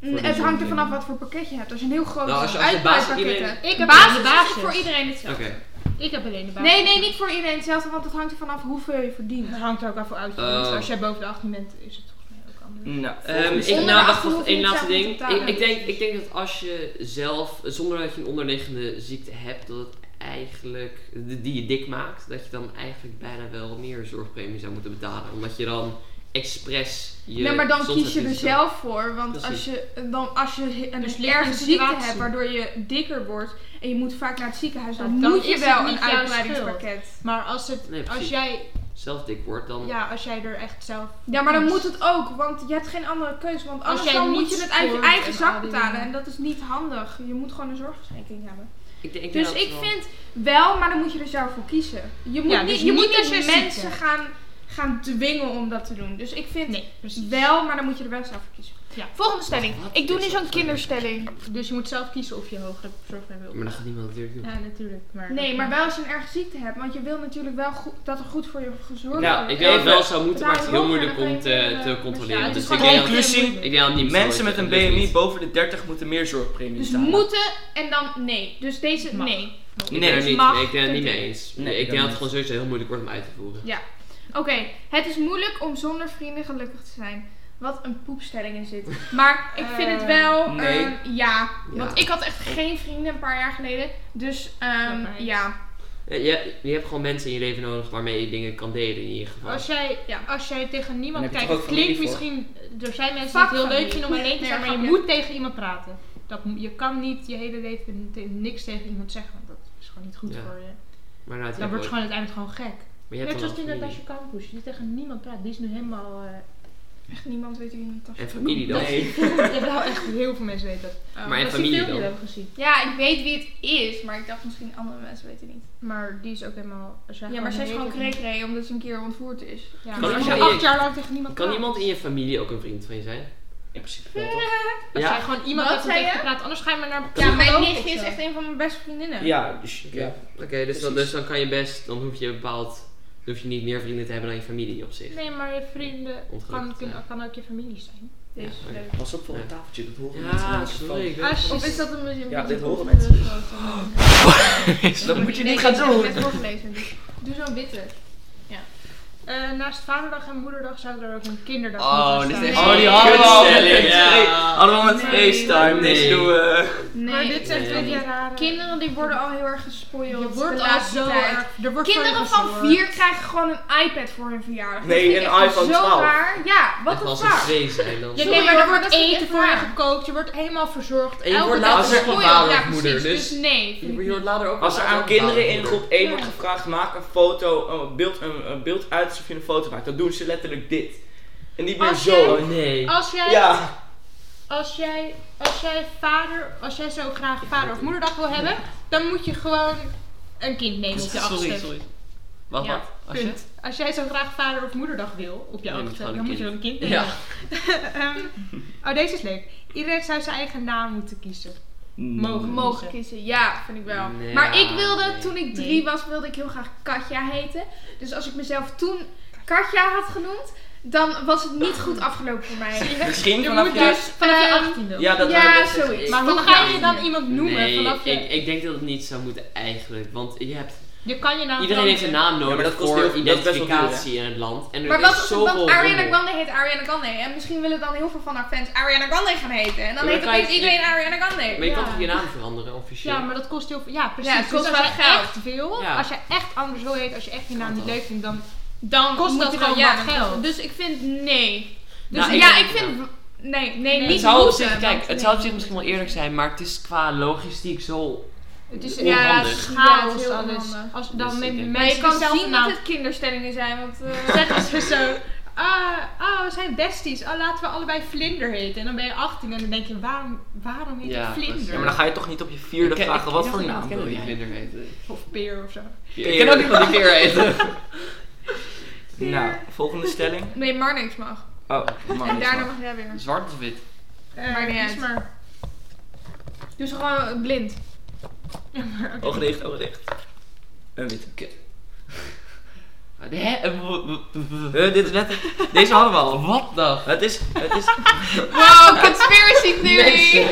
B: Mm,
C: die
B: het hangt er
C: zorgverzekering.
B: vanaf wat voor pakket je hebt. Als je een heel groot
C: Nou, als je- als je
B: uitbreidpakket
C: basis- iedereen-
B: hebt.
D: Ik heb
B: basis,
D: alleen de
B: is
D: basis.
B: voor iedereen hetzelfde.
D: Ik heb alleen de basis.
B: Nee, nee, niet voor iedereen hetzelfde, want het hangt er vanaf hoeveel je verdient.
D: Dat hangt er ook af voor uit.
C: Oh.
D: Als jij boven de 18 bent, is het volgens mij ook anders.
A: Nou,
C: Ehm,
A: volgens-
C: ik,
B: Onder
C: nou, wacht,
B: 18
C: wacht,
B: hoef je
C: één
B: het
C: laatste
B: zelf
C: ding.
B: te
C: Ik,
B: betalen.
C: ik, denk, ik denk dat als je zelf, zonder dat je een onderliggende ziekte hebt, dat het eigenlijk, die die je dik maakt, dat je dan eigenlijk bijna wel meer zorgpremie zou moeten betalen. Omdat je dan expres je
B: nee, maar dan kies je er
C: gezondheidsrisico-
B: zelf voor. Want
C: Precies.
B: als je, eh, dan, als je een
D: Dus ligt aan de
B: erge ziekte
D: situatie.
B: hebt waardoor je dikker wordt en je moet vaak naar het ziekenhuis,
D: Ja,
B: dan,
D: dan
B: moet
D: is
B: je
D: het
B: wel
D: niet
B: een
D: jouw
B: uitbreidingspakket.
D: Maar als, het,
C: Nee,
D: als,
C: precies.
D: jij,
C: zelf dik wordt, dan...
D: ja, als jij er echt zelf...
B: Ja, maar dan
D: Eens.
B: moet het ook, want je hebt geen andere keus. Want
D: Als
B: anders
D: jij
B: dan
D: niet
B: moet je het uit je
D: sport
B: eigen
D: en
B: zak
D: al die
B: betalen.
D: dingen.
B: En dat is niet handig. Je moet gewoon een zorgverzekering hebben.
C: Ik denk, ik denk
B: Dus
C: dat
B: ik
C: wel-
B: vind wel, maar dan moet je er zelf voor kiezen. Je moet
D: Ja,
B: niet,
D: dus
B: je moet
D: niet als
B: niet
D: je ziek
B: mensen
D: bent.
B: gaan, gaan dwingen om dat te doen. Dus ik vind
D: Nee, precies.
B: wel, maar dan moet je er wel zelf voor kiezen.
D: Ja.
B: Volgende stelling.
C: Wat
B: Ik doe
C: is
B: nu
C: dat
B: zo'n
C: voor-
B: kinderstelling.
D: Dus je moet zelf kiezen of je hogere zorgpremie wil.
C: Maar dat gaat niemand natuurlijk doen.
D: Ja, natuurlijk. Maar
B: Nee, maar wel als je een erge ziekte hebt. Want je wil natuurlijk wel goed, dat er goed voor je gezorgd wordt.
C: Nou, ik denk dat het wel zou moeten, maar het is heel
B: Daarom
C: moeilijk om
B: hoger dan
C: te, te
B: geen,
C: controleren.
D: ja, het is
C: dus ik
D: gewoon
C: denk dat,
D: heel
A: Conclusie,
C: ik denk dat niet
A: Mensen met
C: zoiets-
A: een
C: dat lukt
A: BMI
C: niet.
A: boven de 30 moeten meer zorgpremie
B: Dus
A: betalen.
B: moeten en dan nee. Dus deze
D: Mag.
B: nee.
C: Ik
A: Nee,
C: ben er niet,
B: mag,
C: ik ben het niet
B: punt.
C: mee eens.
A: Nee,
C: Nee,
A: ik
C: ik denk dat
A: ook
C: het gewoon sowieso heel moeilijk wordt om uit te voeren.
B: Ja. Oké, het is moeilijk om zonder vrienden gelukkig te zijn. Wat een poepstelling in zit. Maar ik vind het wel.
A: Eh, nee.
B: ehm, ja.
C: Ja.
B: Want ik had echt geen vrienden een paar jaar geleden. Dus ehm,
D: Ja, nice.
B: ja.
C: Eh, Je, je hebt gewoon mensen in je leven nodig waarmee je dingen kan delen in ieder geval.
D: Als jij,
B: Ja.
D: als jij tegen niemand
A: Dan heb je
D: kijkt,
A: toch
D: het
A: ook familie
D: klinkt misschien... Er zijn mensen
B: Fuck
D: die het heel
B: familie.
D: leuk vinden om alleen te
B: Nee,
D: zijn, maar je
B: grapje.
D: moet tegen iemand praten. Dat, mo- je kan niet je hele leven te- niks tegen iemand zeggen, want dat is gewoon niet goed
C: Ja.
D: voor je.
C: maar nou, het
D: Dan
C: heb
D: wordt
C: ik
D: je gewoon uiteindelijk gewoon gek.
C: ook- maar je hebt
D: Net
C: dan
D: zoals die
C: wel familie.
D: Natasja Campus, die tegen niemand praat. Die is nu helemaal... eh,
B: Echt niemand weet wie een tasje
C: En familie dan.
A: Nee.
D: ja, wel echt heel veel mensen weten dat.
C: Maar en
D: Oh. Dat
C: familie
D: die filmpje
C: dan?
D: hebben gezien.
B: Ja, ik weet wie het is. Maar ik dacht misschien andere mensen weten het niet.
D: Maar die is ook helemaal... als jij
B: Ja, maar zij is
D: een
B: gewoon
D: hele-
B: krekree omdat ze een keer ontvoerd is.
D: Ja,
C: Kan
D: maar als je
C: iemand-
D: acht jaar lang tegen niemand
C: Kan
D: praat.
C: iemand in je familie ook een vriend van je zijn?
A: In principe wel, toch?
D: Als
C: Ja.
D: jij gewoon iemand
B: Wat
D: hebt om
B: zei
D: tegen
B: je?
D: te praten, anders ga je maar naar een
B: Ja, mijn
D: psycholoog
B: nichtje
D: of
B: is
D: zo.
B: echt een van mijn beste vriendinnen.
A: Ja, dus
C: Oké,
A: ja.
C: Oké, dus, dan,
A: Precies.
C: dus dan kan je best, dan hoef je een bepaald, dan hoef je niet meer vrienden te hebben dan je familie op zich.
D: Nee, maar je vrienden kan,
C: Ontgelukkig, ja.
D: kunnen, kan ook je familie zijn.
B: Dus,
C: Ja, oké.
B: leuk.
A: Pas op voor
C: Ja.
A: een tafeltje, dat horen mensen.
C: Ja,
A: aan de
C: sorry. Ik
A: microfoon.
C: weet het
D: Als-
C: wel.
B: Of is dat een museum?
A: Ja, dit horen mensen. Dat moet je niet gaan doen.
B: Ik heb het net voorgelezen. dus Doe zo'n witte.
D: Eh, naast vaderdag en moederdag zou er ook een kinderdag
C: Oh,
D: moeten
C: dit
D: staan.
C: is
B: echt Oh, die
A: hadden we al met
C: Kutstelling,
A: FaceTime.
C: ja.
A: Allemaal met
B: Nee.
A: FaceTime, dus eh,
C: Nee.
A: deze doen we.
B: Nee,
D: maar dit zijn
C: nee.
D: twee keer rare...
B: Kinderen die worden al heel erg gespoild.
D: Je
B: de
D: wordt al
B: laatste
D: zo
B: tijd.
D: erg- er wordt
B: Kinderen
D: voor je
B: van
D: gezorgd.
B: 4 krijgen gewoon een iPad voor hun verjaardag. Dat
A: Nee,
B: vind ik
A: een
B: echt
A: iPhone
B: zo
A: 12.
B: Raar. Ja, wat
C: Echt
B: een
C: als er
B: vraar.
C: twee zijn dan.
D: Ja,
B: Sorry,
D: nee, maar
B: hoor, maar
D: er wordt
B: dat vind ik
D: eten
B: echt
D: voor je
B: raar.
D: gekookt, je wordt helemaal verzorgd.
C: En je
D: Elke
C: wordt
D: dag
C: later
D: is
C: gewoon
D: gespoild.
C: vader
D: Ja,
C: of
D: precies,
C: moeder,
D: Dus
C: dus-
D: nee. vind ik
C: Je wordt later ook
A: Als er
C: wel Oh,
A: aan
C: vader
A: kinderen
C: of
A: in
C: moeder.
A: groep 1
B: Ja.
A: wordt gevraagd, maak een foto, een beeld, een, een beeld uit alsof je een foto maakt, dan doen ze letterlijk dit. En niet meer
D: Als
A: zo.
C: Oh nee.
D: niet. Als jij
A: Ja.
D: als jij, als jij vader, als jij zo graag vader of moederdag wil hebben, dan moet je gewoon een kind nemen op je achtste.
C: Wat,
D: Ja,
C: wat? Als je?
D: Punt. Als jij zo graag vader of moederdag wil op je
C: Dan moet je
D: achtste,
C: gewoon
D: dan
C: een
D: moet je wel een
C: kind.
D: kind nemen.
C: Ja.
D: Ehm, oh, deze is leuk. Iedereen zou zijn eigen naam moeten kiezen.
A: Mm.
D: Mogen.
B: Mogen kiezen, ja, vind ik wel.
C: Nee,
B: maar ik
C: ja,
B: wilde,
C: nee.
B: toen ik
D: Nee.
B: drie was, wilde ik heel graag Katja heten. Dus als ik mezelf toen Katja had genoemd, dan was het niet goed afgelopen voor mij.
A: Misschien
D: Je
A: vanaf
D: moet
A: je...
D: dus vanaf je
B: ehm,
D: achttiende.
A: Ja, dat
B: ja,
A: wou ik net
B: zoiets.
A: zeggen.
D: maar hoe
B: vanaf
D: ga
B: je
D: je dan iemand noemen
C: nee,
D: vanaf je...
C: ik, ik denk dat het niet zou moeten eigenlijk, want je hebt
D: je kan je naam
C: Iedereen heeft een
D: veranderen.
C: naam nodig
A: maar dat kost
C: voor
A: heel- dat is best wel
C: identificatie in het land. En er
B: Maar
C: is
B: wat als
C: zoveel
B: want Ariana
C: rommel.
B: Grande heet Ariana Grande en misschien willen dan heel veel van haar fans Ariana Grande gaan heten. En dan
C: Ja, maar
B: heet
C: kan je-
B: opeens iedereen Ariana
C: Maar
B: Grande.
C: je kan
D: Ja.
C: toch je naam veranderen, officieel?
D: Ja, maar dat kost heel veel. Ja, precies.
B: Ja, het kost
D: dus als
B: wel
D: je
B: geld.
D: echt wil,
C: Ja.
D: als je echt anders wil heten, als je echt je naam
C: Kan
D: niet
C: wel.
D: leuk vindt, dan
B: Dan
D: Kost
B: moet
D: dat
B: je
D: gewoon
B: ja,
D: wat
B: dan-
D: geld?
B: Dus ik vind nee. Dus
C: Nou,
B: ja,
C: ik-
B: ik vind Nee,
D: Nee,
C: Het
D: niet
C: zou op
D: moeten,
C: zich, kijk,
D: want-
C: het zou op zich misschien wel eerlijk zijn, maar het is qua logistiek zo.
D: Het is
C: Onhandig.
D: ja,
B: Ja, het
D: chaos
B: is heel
D: alles.
B: onhandig.
D: Als, dan
C: Dus ik
D: nemen
C: denk-
B: Maar je
D: mensen
B: kan
D: zelf
B: zien
D: na-
B: dat het kinderstellingen zijn, want... eh,
D: zeggen ze zo. Ah, ah, we zijn besties. Ah, laten we allebei Vlinder heten. En dan ben je 18 en dan denk je, waarom, waarom heet je
C: Ja,
D: Vlinder?
C: precies.
A: Ja, maar dan ga je toch niet op je vierde
C: Ik ken-
A: vragen,
C: ik
A: wat
C: ken
A: voor
C: iemand
A: naam wil
C: kennen
A: jij?
C: die Vlinder heet.
D: Of peer of zo.
C: Ik ken ook iemand die Peer heet.
A: Nou, volgende stelling.
B: Nee, maar niks mag.
A: Oh, man.
B: en
A: is
B: daarna
A: dat.
B: mag jij weer.
C: Zwart of wit?
D: Eh,
B: Maakt niet
D: kies
B: uit.
D: maar.
B: Dus gewoon blind.
A: Ogen dicht, ogen dicht. oh, Een witte.
C: Hè? Eh, w- w- w- w-
A: Eh, dit is net, deze hadden we al.
C: Wat dan?
A: Het is, het is
B: Wow, conspiracy theory!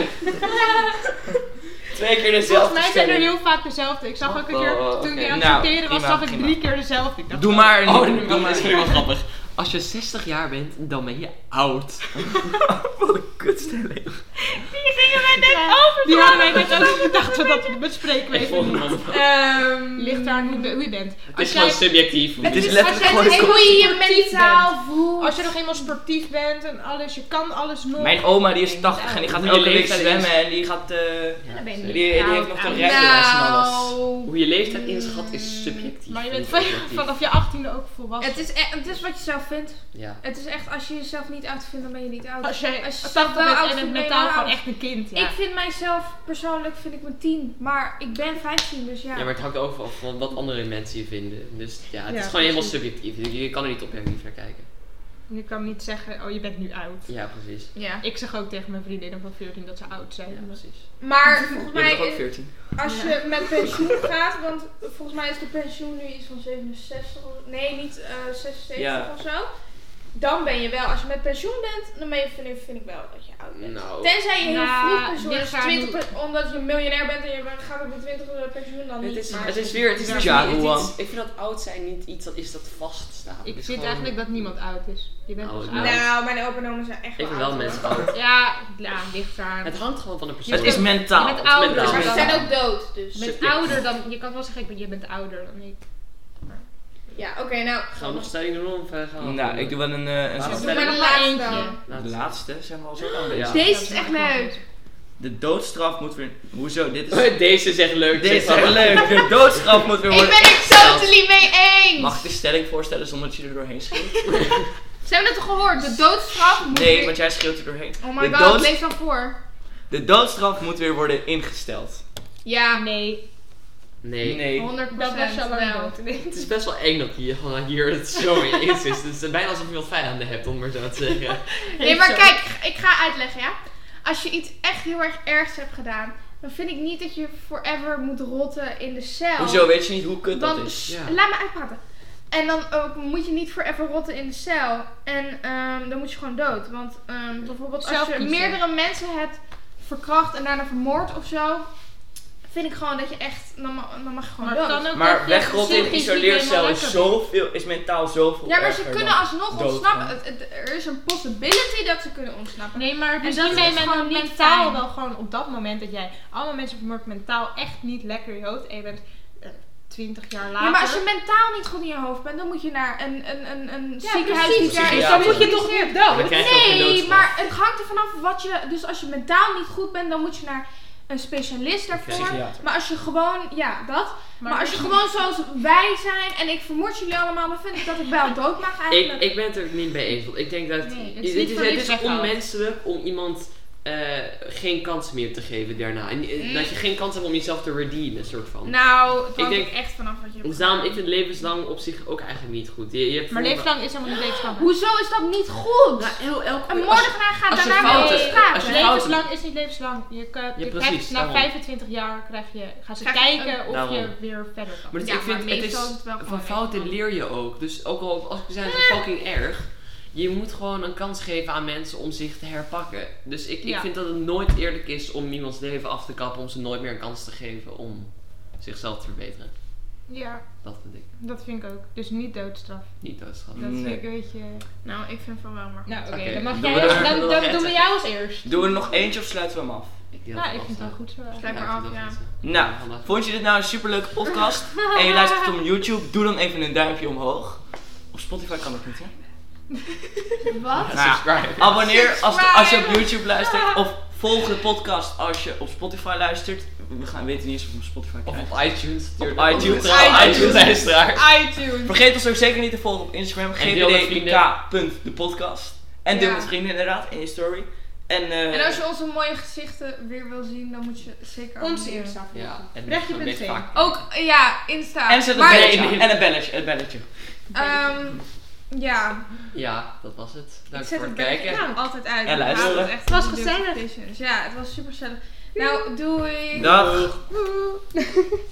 A: twee keer
D: Volgens
A: dezelfde
D: mij zijn er
A: stelling.
D: heel vaak dezelfde. Ik zag ook een keer,
C: Oh, oh,
D: toen ik
C: oké.
D: die aan het
A: Nou,
D: sorteren was,
A: prima,
D: zag ik
A: prima.
D: drie keer dezelfde. Ik dacht,
A: Doe maar, een-
C: Oh,
A: doe
C: dat
A: maar.
C: is helemaal grappig. Als je 60 jaar bent, dan ben je oud.
A: Wat een kutstelling.
D: Die hadden wij net ook gedacht "Oh, dat dat bespreken we even niet.
B: Ehm dus
D: Ligt eraan hoe, de- hoe je bent.
C: Het
D: Als
C: is
D: jij,
C: gewoon subjectief.
A: Het is
D: is-
A: letterlijk
D: als jij
A: gewoon een
D: het
A: kut-
D: heel-
B: hoe je je
D: sportief
B: mentaal voelt.
D: als je nog eenmaal sportief bent en alles, je kan alles nog.
A: Mijn oma die is 80 en die gaat
C: Hoe
A: elke
C: je
A: week
C: leeftijd is.
A: zwemmen en die gaat... eh,
D: Dan ben je
A: die,
D: niet
A: die
B: Nou,
A: heeft
D: oud
A: nog de
D: aan.
A: rechtenles en alles.
C: Hoe je leeftijd inschat is subjectief.
D: Maar je bent
C: Vind
D: van-
C: ik subjectief.
D: vanaf je 18e ook volwassen.
B: Het is, e- het is wat je zelf vindt.
C: Ja.
B: Het is echt, als je jezelf niet oud vindt, dan ben je niet oud.
D: Als jij
B: Als je
D: 80
B: wel oud
D: bent en
B: vindt,
D: het
B: ben je
D: mentaal
B: wel
D: gewoon
B: oud.
D: echt een kind, ja.
B: Ik vind mijzelf persoonlijk vind ik me 10, maar ik ben 15, dus ja.
C: Ja, maar het hangt ook af van wat andere mensen je vinden. Dus ja, het
D: Ja,
C: is gewoon helemaal
D: precies.
C: subjectief. Je, je kan er niet objectief naar kijken.
D: Nu kan niet zeggen, oh je bent nu oud.
C: Ja, precies.
B: Ja.
D: Ik zeg ook tegen mijn vriendinnen van 14 dat ze oud
C: Ja,
D: zijn.
C: precies.
B: Maar volgens
A: Je bent
B: mij,
A: toch ook
B: eh,
A: 14?
B: als je met pensioen gaat, want volgens mij is de pensioen nu iets van 67 of nee, niet eh 76
A: Ja.
B: of zo. Dan ben je wel, als je met pensioen bent, dan ben je, vind, ik, vind ik wel dat je oud bent.
C: Nou,
B: Tenzij je heel
D: Nou,
B: vroeg pensioen
D: dit
B: hebt,
D: gaat
B: 20 pe- omdat je miljonair bent en je gaat op je 20 pensioen dan
C: het
B: niet.
C: is,
B: maar-
C: het is weer, het is
A: Ja,
C: weer- het is-
A: Juan.
C: ik vind dat oud zijn niet iets dat is dat vaststaat. Het
D: Ik
C: is
D: vind
C: gewoon-
D: eigenlijk dat niemand oud is. Je bent
C: Oud,
D: pas
C: ja.
D: oud.
B: Nou, mijn opa en oma zijn echt
C: Ik vind
B: oud,
C: wel
B: hoor.
C: mensen oud.
D: Ja, ja, ligt eraan.
C: Het hangt gewoon van de persoon.
A: Het is mentaal.
D: Je bent
A: Het is
D: ouder,
A: mentaal.
B: Maar ze
D: dan-
B: zijn ook dood, dus.
D: Je bent
C: subjectief.
D: ouder dan, je kan wel zeggen, ik ben- je bent ouder dan ik.
B: Ja, oké, nou.
C: Gaan we nog stelling doen of eh, gaan we...
A: Nou, ik doe wel een... eh, een
C: Laatste.
A: zin-
B: Doe maar
D: Nog
B: de
D: maar
B: laatste
D: eentje.
B: dan.
A: De
C: Laatste.
A: laatste zijn we al zo aan bezig.
C: Ja.
B: Deze
D: Dat
B: is echt
D: maakt
B: leuk.
A: De doodstraf moet weer... Hoezo? Dit is...
C: Deze is echt leuk.
A: Dit is
C: zeg
A: echt
C: maar.
A: leuk. De doodstraf moet weer
B: Ik
A: worden
B: ben het
A: ingesteld.
B: totally mee eens.
A: Mag ik de stelling voorstellen zonder dat je er doorheen schreeuwt?
B: Ze hebben het toch gehoord? De doodstraf moet
A: Nee,
B: weer-
A: want jij schreeuwt er doorheen.
B: Oh
A: de
B: my god,
A: doods-
B: lees dan voor.
A: De doodstraf moet weer worden ingesteld.
B: Ja,
D: Nee,
C: Nee.
A: Nee.
B: 100%
D: dat was zo lang
B: wel.
D: dood.
C: Het is best wel eng dat hier, gewoon hier het zo in is. Dus Het is bijna alsof je wat vijanden hebt, om maar zo te zeggen.
B: Nee, maar kijk, ik ga uitleggen, ja. Als je iets echt heel erg ergs hebt gedaan, dan vind ik niet dat je forever moet rotten in de cel.
A: Hoezo weet je niet hoe kut dat
B: Dan,
A: is?
B: Sst,
C: ja.
B: laat me uitpraten. En dan ook moet je niet forever rotten in de cel. En ehm, dan moet je gewoon dood. Want ehm, bijvoorbeeld als
D: Zelf
B: je
D: kiezen.
B: meerdere mensen hebt verkracht en daarna vermoord of zo. Vind ik gewoon dat je echt, dan, ma- dan mag je gewoon dood.
A: Maar wegrotten in isoleercel is zoveel, is mentaal zoveel
B: Ja, maar ze
A: erger
B: kunnen
A: dan-
B: alsnog
A: dood
B: ontsnappen.
A: gaan.
B: Het- het- er is een possibility dat ze kunnen ontsnappen.
D: Nee, maar
B: En
D: dus
B: dat
D: die
B: is
D: nemen
B: gewoon niet
D: mentaal
B: fijn.
D: wel gewoon op dat moment dat jij allemaal mensen vermoordt, mentaal echt niet lekker in je hoofd en je bent eh, 20 jaar later.
B: Ja, maar als je mentaal niet goed in je hoofd bent, dan moet je naar een, een, een, een
D: Ja,
B: ziekenhuis
D: precies.
B: daar
D: Dus
B: is
D: dan
C: Ja,
D: moet je toch
B: gespecialiseerd.
D: niet dood.
C: Dan krijg je ook geen
B: Nee,
C: doodstraf.
B: maar het hangt er vanaf wat je. Dus als je mentaal niet goed bent, dan moet je naar een specialist daarvoor.
A: Psychiater.
B: Maar als je gewoon, ja, dat. Maar, als je gewoon zoals wij zijn en ik vermoord jullie allemaal, dan vind ik dat ik wel dood mag eigenlijk.
C: Ik, ik ben het er niet mee eens, want ik denk dat...
D: Nee, het is
C: dit
D: niet
C: is,
D: voor
C: het
D: niks
C: is
D: weggehaald.
C: onmenselijk om iemand eh, geen kans meer te geven daarna. En, eh,
B: Mm.
C: Dat je geen kans hebt om jezelf te redeemen, soort van.
B: nou, het
C: Ik
B: hangt
C: denk-
B: ook echt vanaf wat je. hebt
C: dus daarom, ik
B: gedaan.
C: vind levenslang op zich ook eigenlijk niet goed. Je, je hebt
D: Maar
C: voor-
D: levenslang is helemaal niet levenslang.
B: Hoezo is dat niet goed?
C: Nou, heel, elke
B: een
C: als je-
B: moordenaar gaat
C: als je
B: daarna
C: fouten-
B: weer op straat.
C: als je
B: hè?
C: fouten-
D: Levenslang is niet levenslang. Je, kan, je
C: precies,
D: krijgt na
C: daarom.
D: 25 jaar krijg je, gaan ze
B: Krijg je
D: kijken of je
C: Daarom.
D: weer verder kan.
C: Maar het-
B: Ja,
C: ik vind,
B: maar
C: het is,
B: meestal is het wel gewoon
C: van fouten
B: echt.
C: leer je ook. Dus ook al als ik zijn ze fucking erg, je moet gewoon een kans geven aan mensen om zich te herpakken. Dus ik,
D: Ja.
C: ik vind dat het nooit eerlijk is om iemands leven af te kappen om ze nooit meer een kans te geven om zichzelf te verbeteren.
D: Ja,
C: Dat vind ik
D: dat vind ik ook. Dus niet doodstraf.
C: niet doodstraf.
D: Dat vind
A: Nee.
D: ik een beetje...
B: Nou, ik vind van wel maar.
D: Nou oké,
C: Oké,
D: dan mag
A: doen
D: jij,
A: we er-
D: dan,
A: doen we
D: dan,
A: er-
D: doen we jou als eerst.
A: Doen we er nog eentje of sluiten we hem af?
C: Ik denk
D: Ja,
C: dat
D: ik vind het wel
C: afstaat.
D: goed zo.
B: Sluit maar
C: ik
B: af,
C: vind
B: ja.
C: dat afstaat.
A: Nou,
C: Ja, vandaag.
A: vond je dit nou een superleuke podcast en je luistert hem op YouTube, doe dan even een duimpje omhoog. Op Spotify kan dat niet, hè?
D: Wat?
A: Nou ja,
C: subscribe.
A: Abonneer als, als je op
B: Subscribe.
A: YouTube luistert. Of volg de podcast als je op Spotify luistert. We gaan, weten niet eens of we op Spotify
C: Of
A: krijgen.
C: op iTunes. natuurlijk.
A: Op iTunes.
B: iTunes.
C: luisteraar.
B: iTunes.
A: Vergeet ons ook zeker niet te volgen op Instagram.
C: En deel met vrienden.
A: gdk.depodcast. En deel
B: Ja.
A: met vrienden inderdaad in je story. En, eh,
B: En als je onze mooie gezichten weer wil zien, dan moet je zeker
D: Onze
B: abonneren.
D: eerste aflevering.
C: Ja, en
D: Brechtje
C: een
D: bent
C: beetje
D: één.
C: vaak.
B: Ook, eh, ja, Insta.
A: en zet een
B: Maar-
A: belletje
C: Nee,
A: aan.
C: nee.
A: En een belletje. Het belletje.
B: Ehm, ja,
C: Ja, dat was het. Dank
B: ik zet
C: voor het
B: het belletje
C: kijken.
B: nou, altijd uit.
A: En
B: Ik haat
A: luisteren.
B: echt
D: Het was
B: van die
D: gezellig.
B: notifications. Ja, het was super gezellig. Nou, doei.
A: Dag.
B: Doei.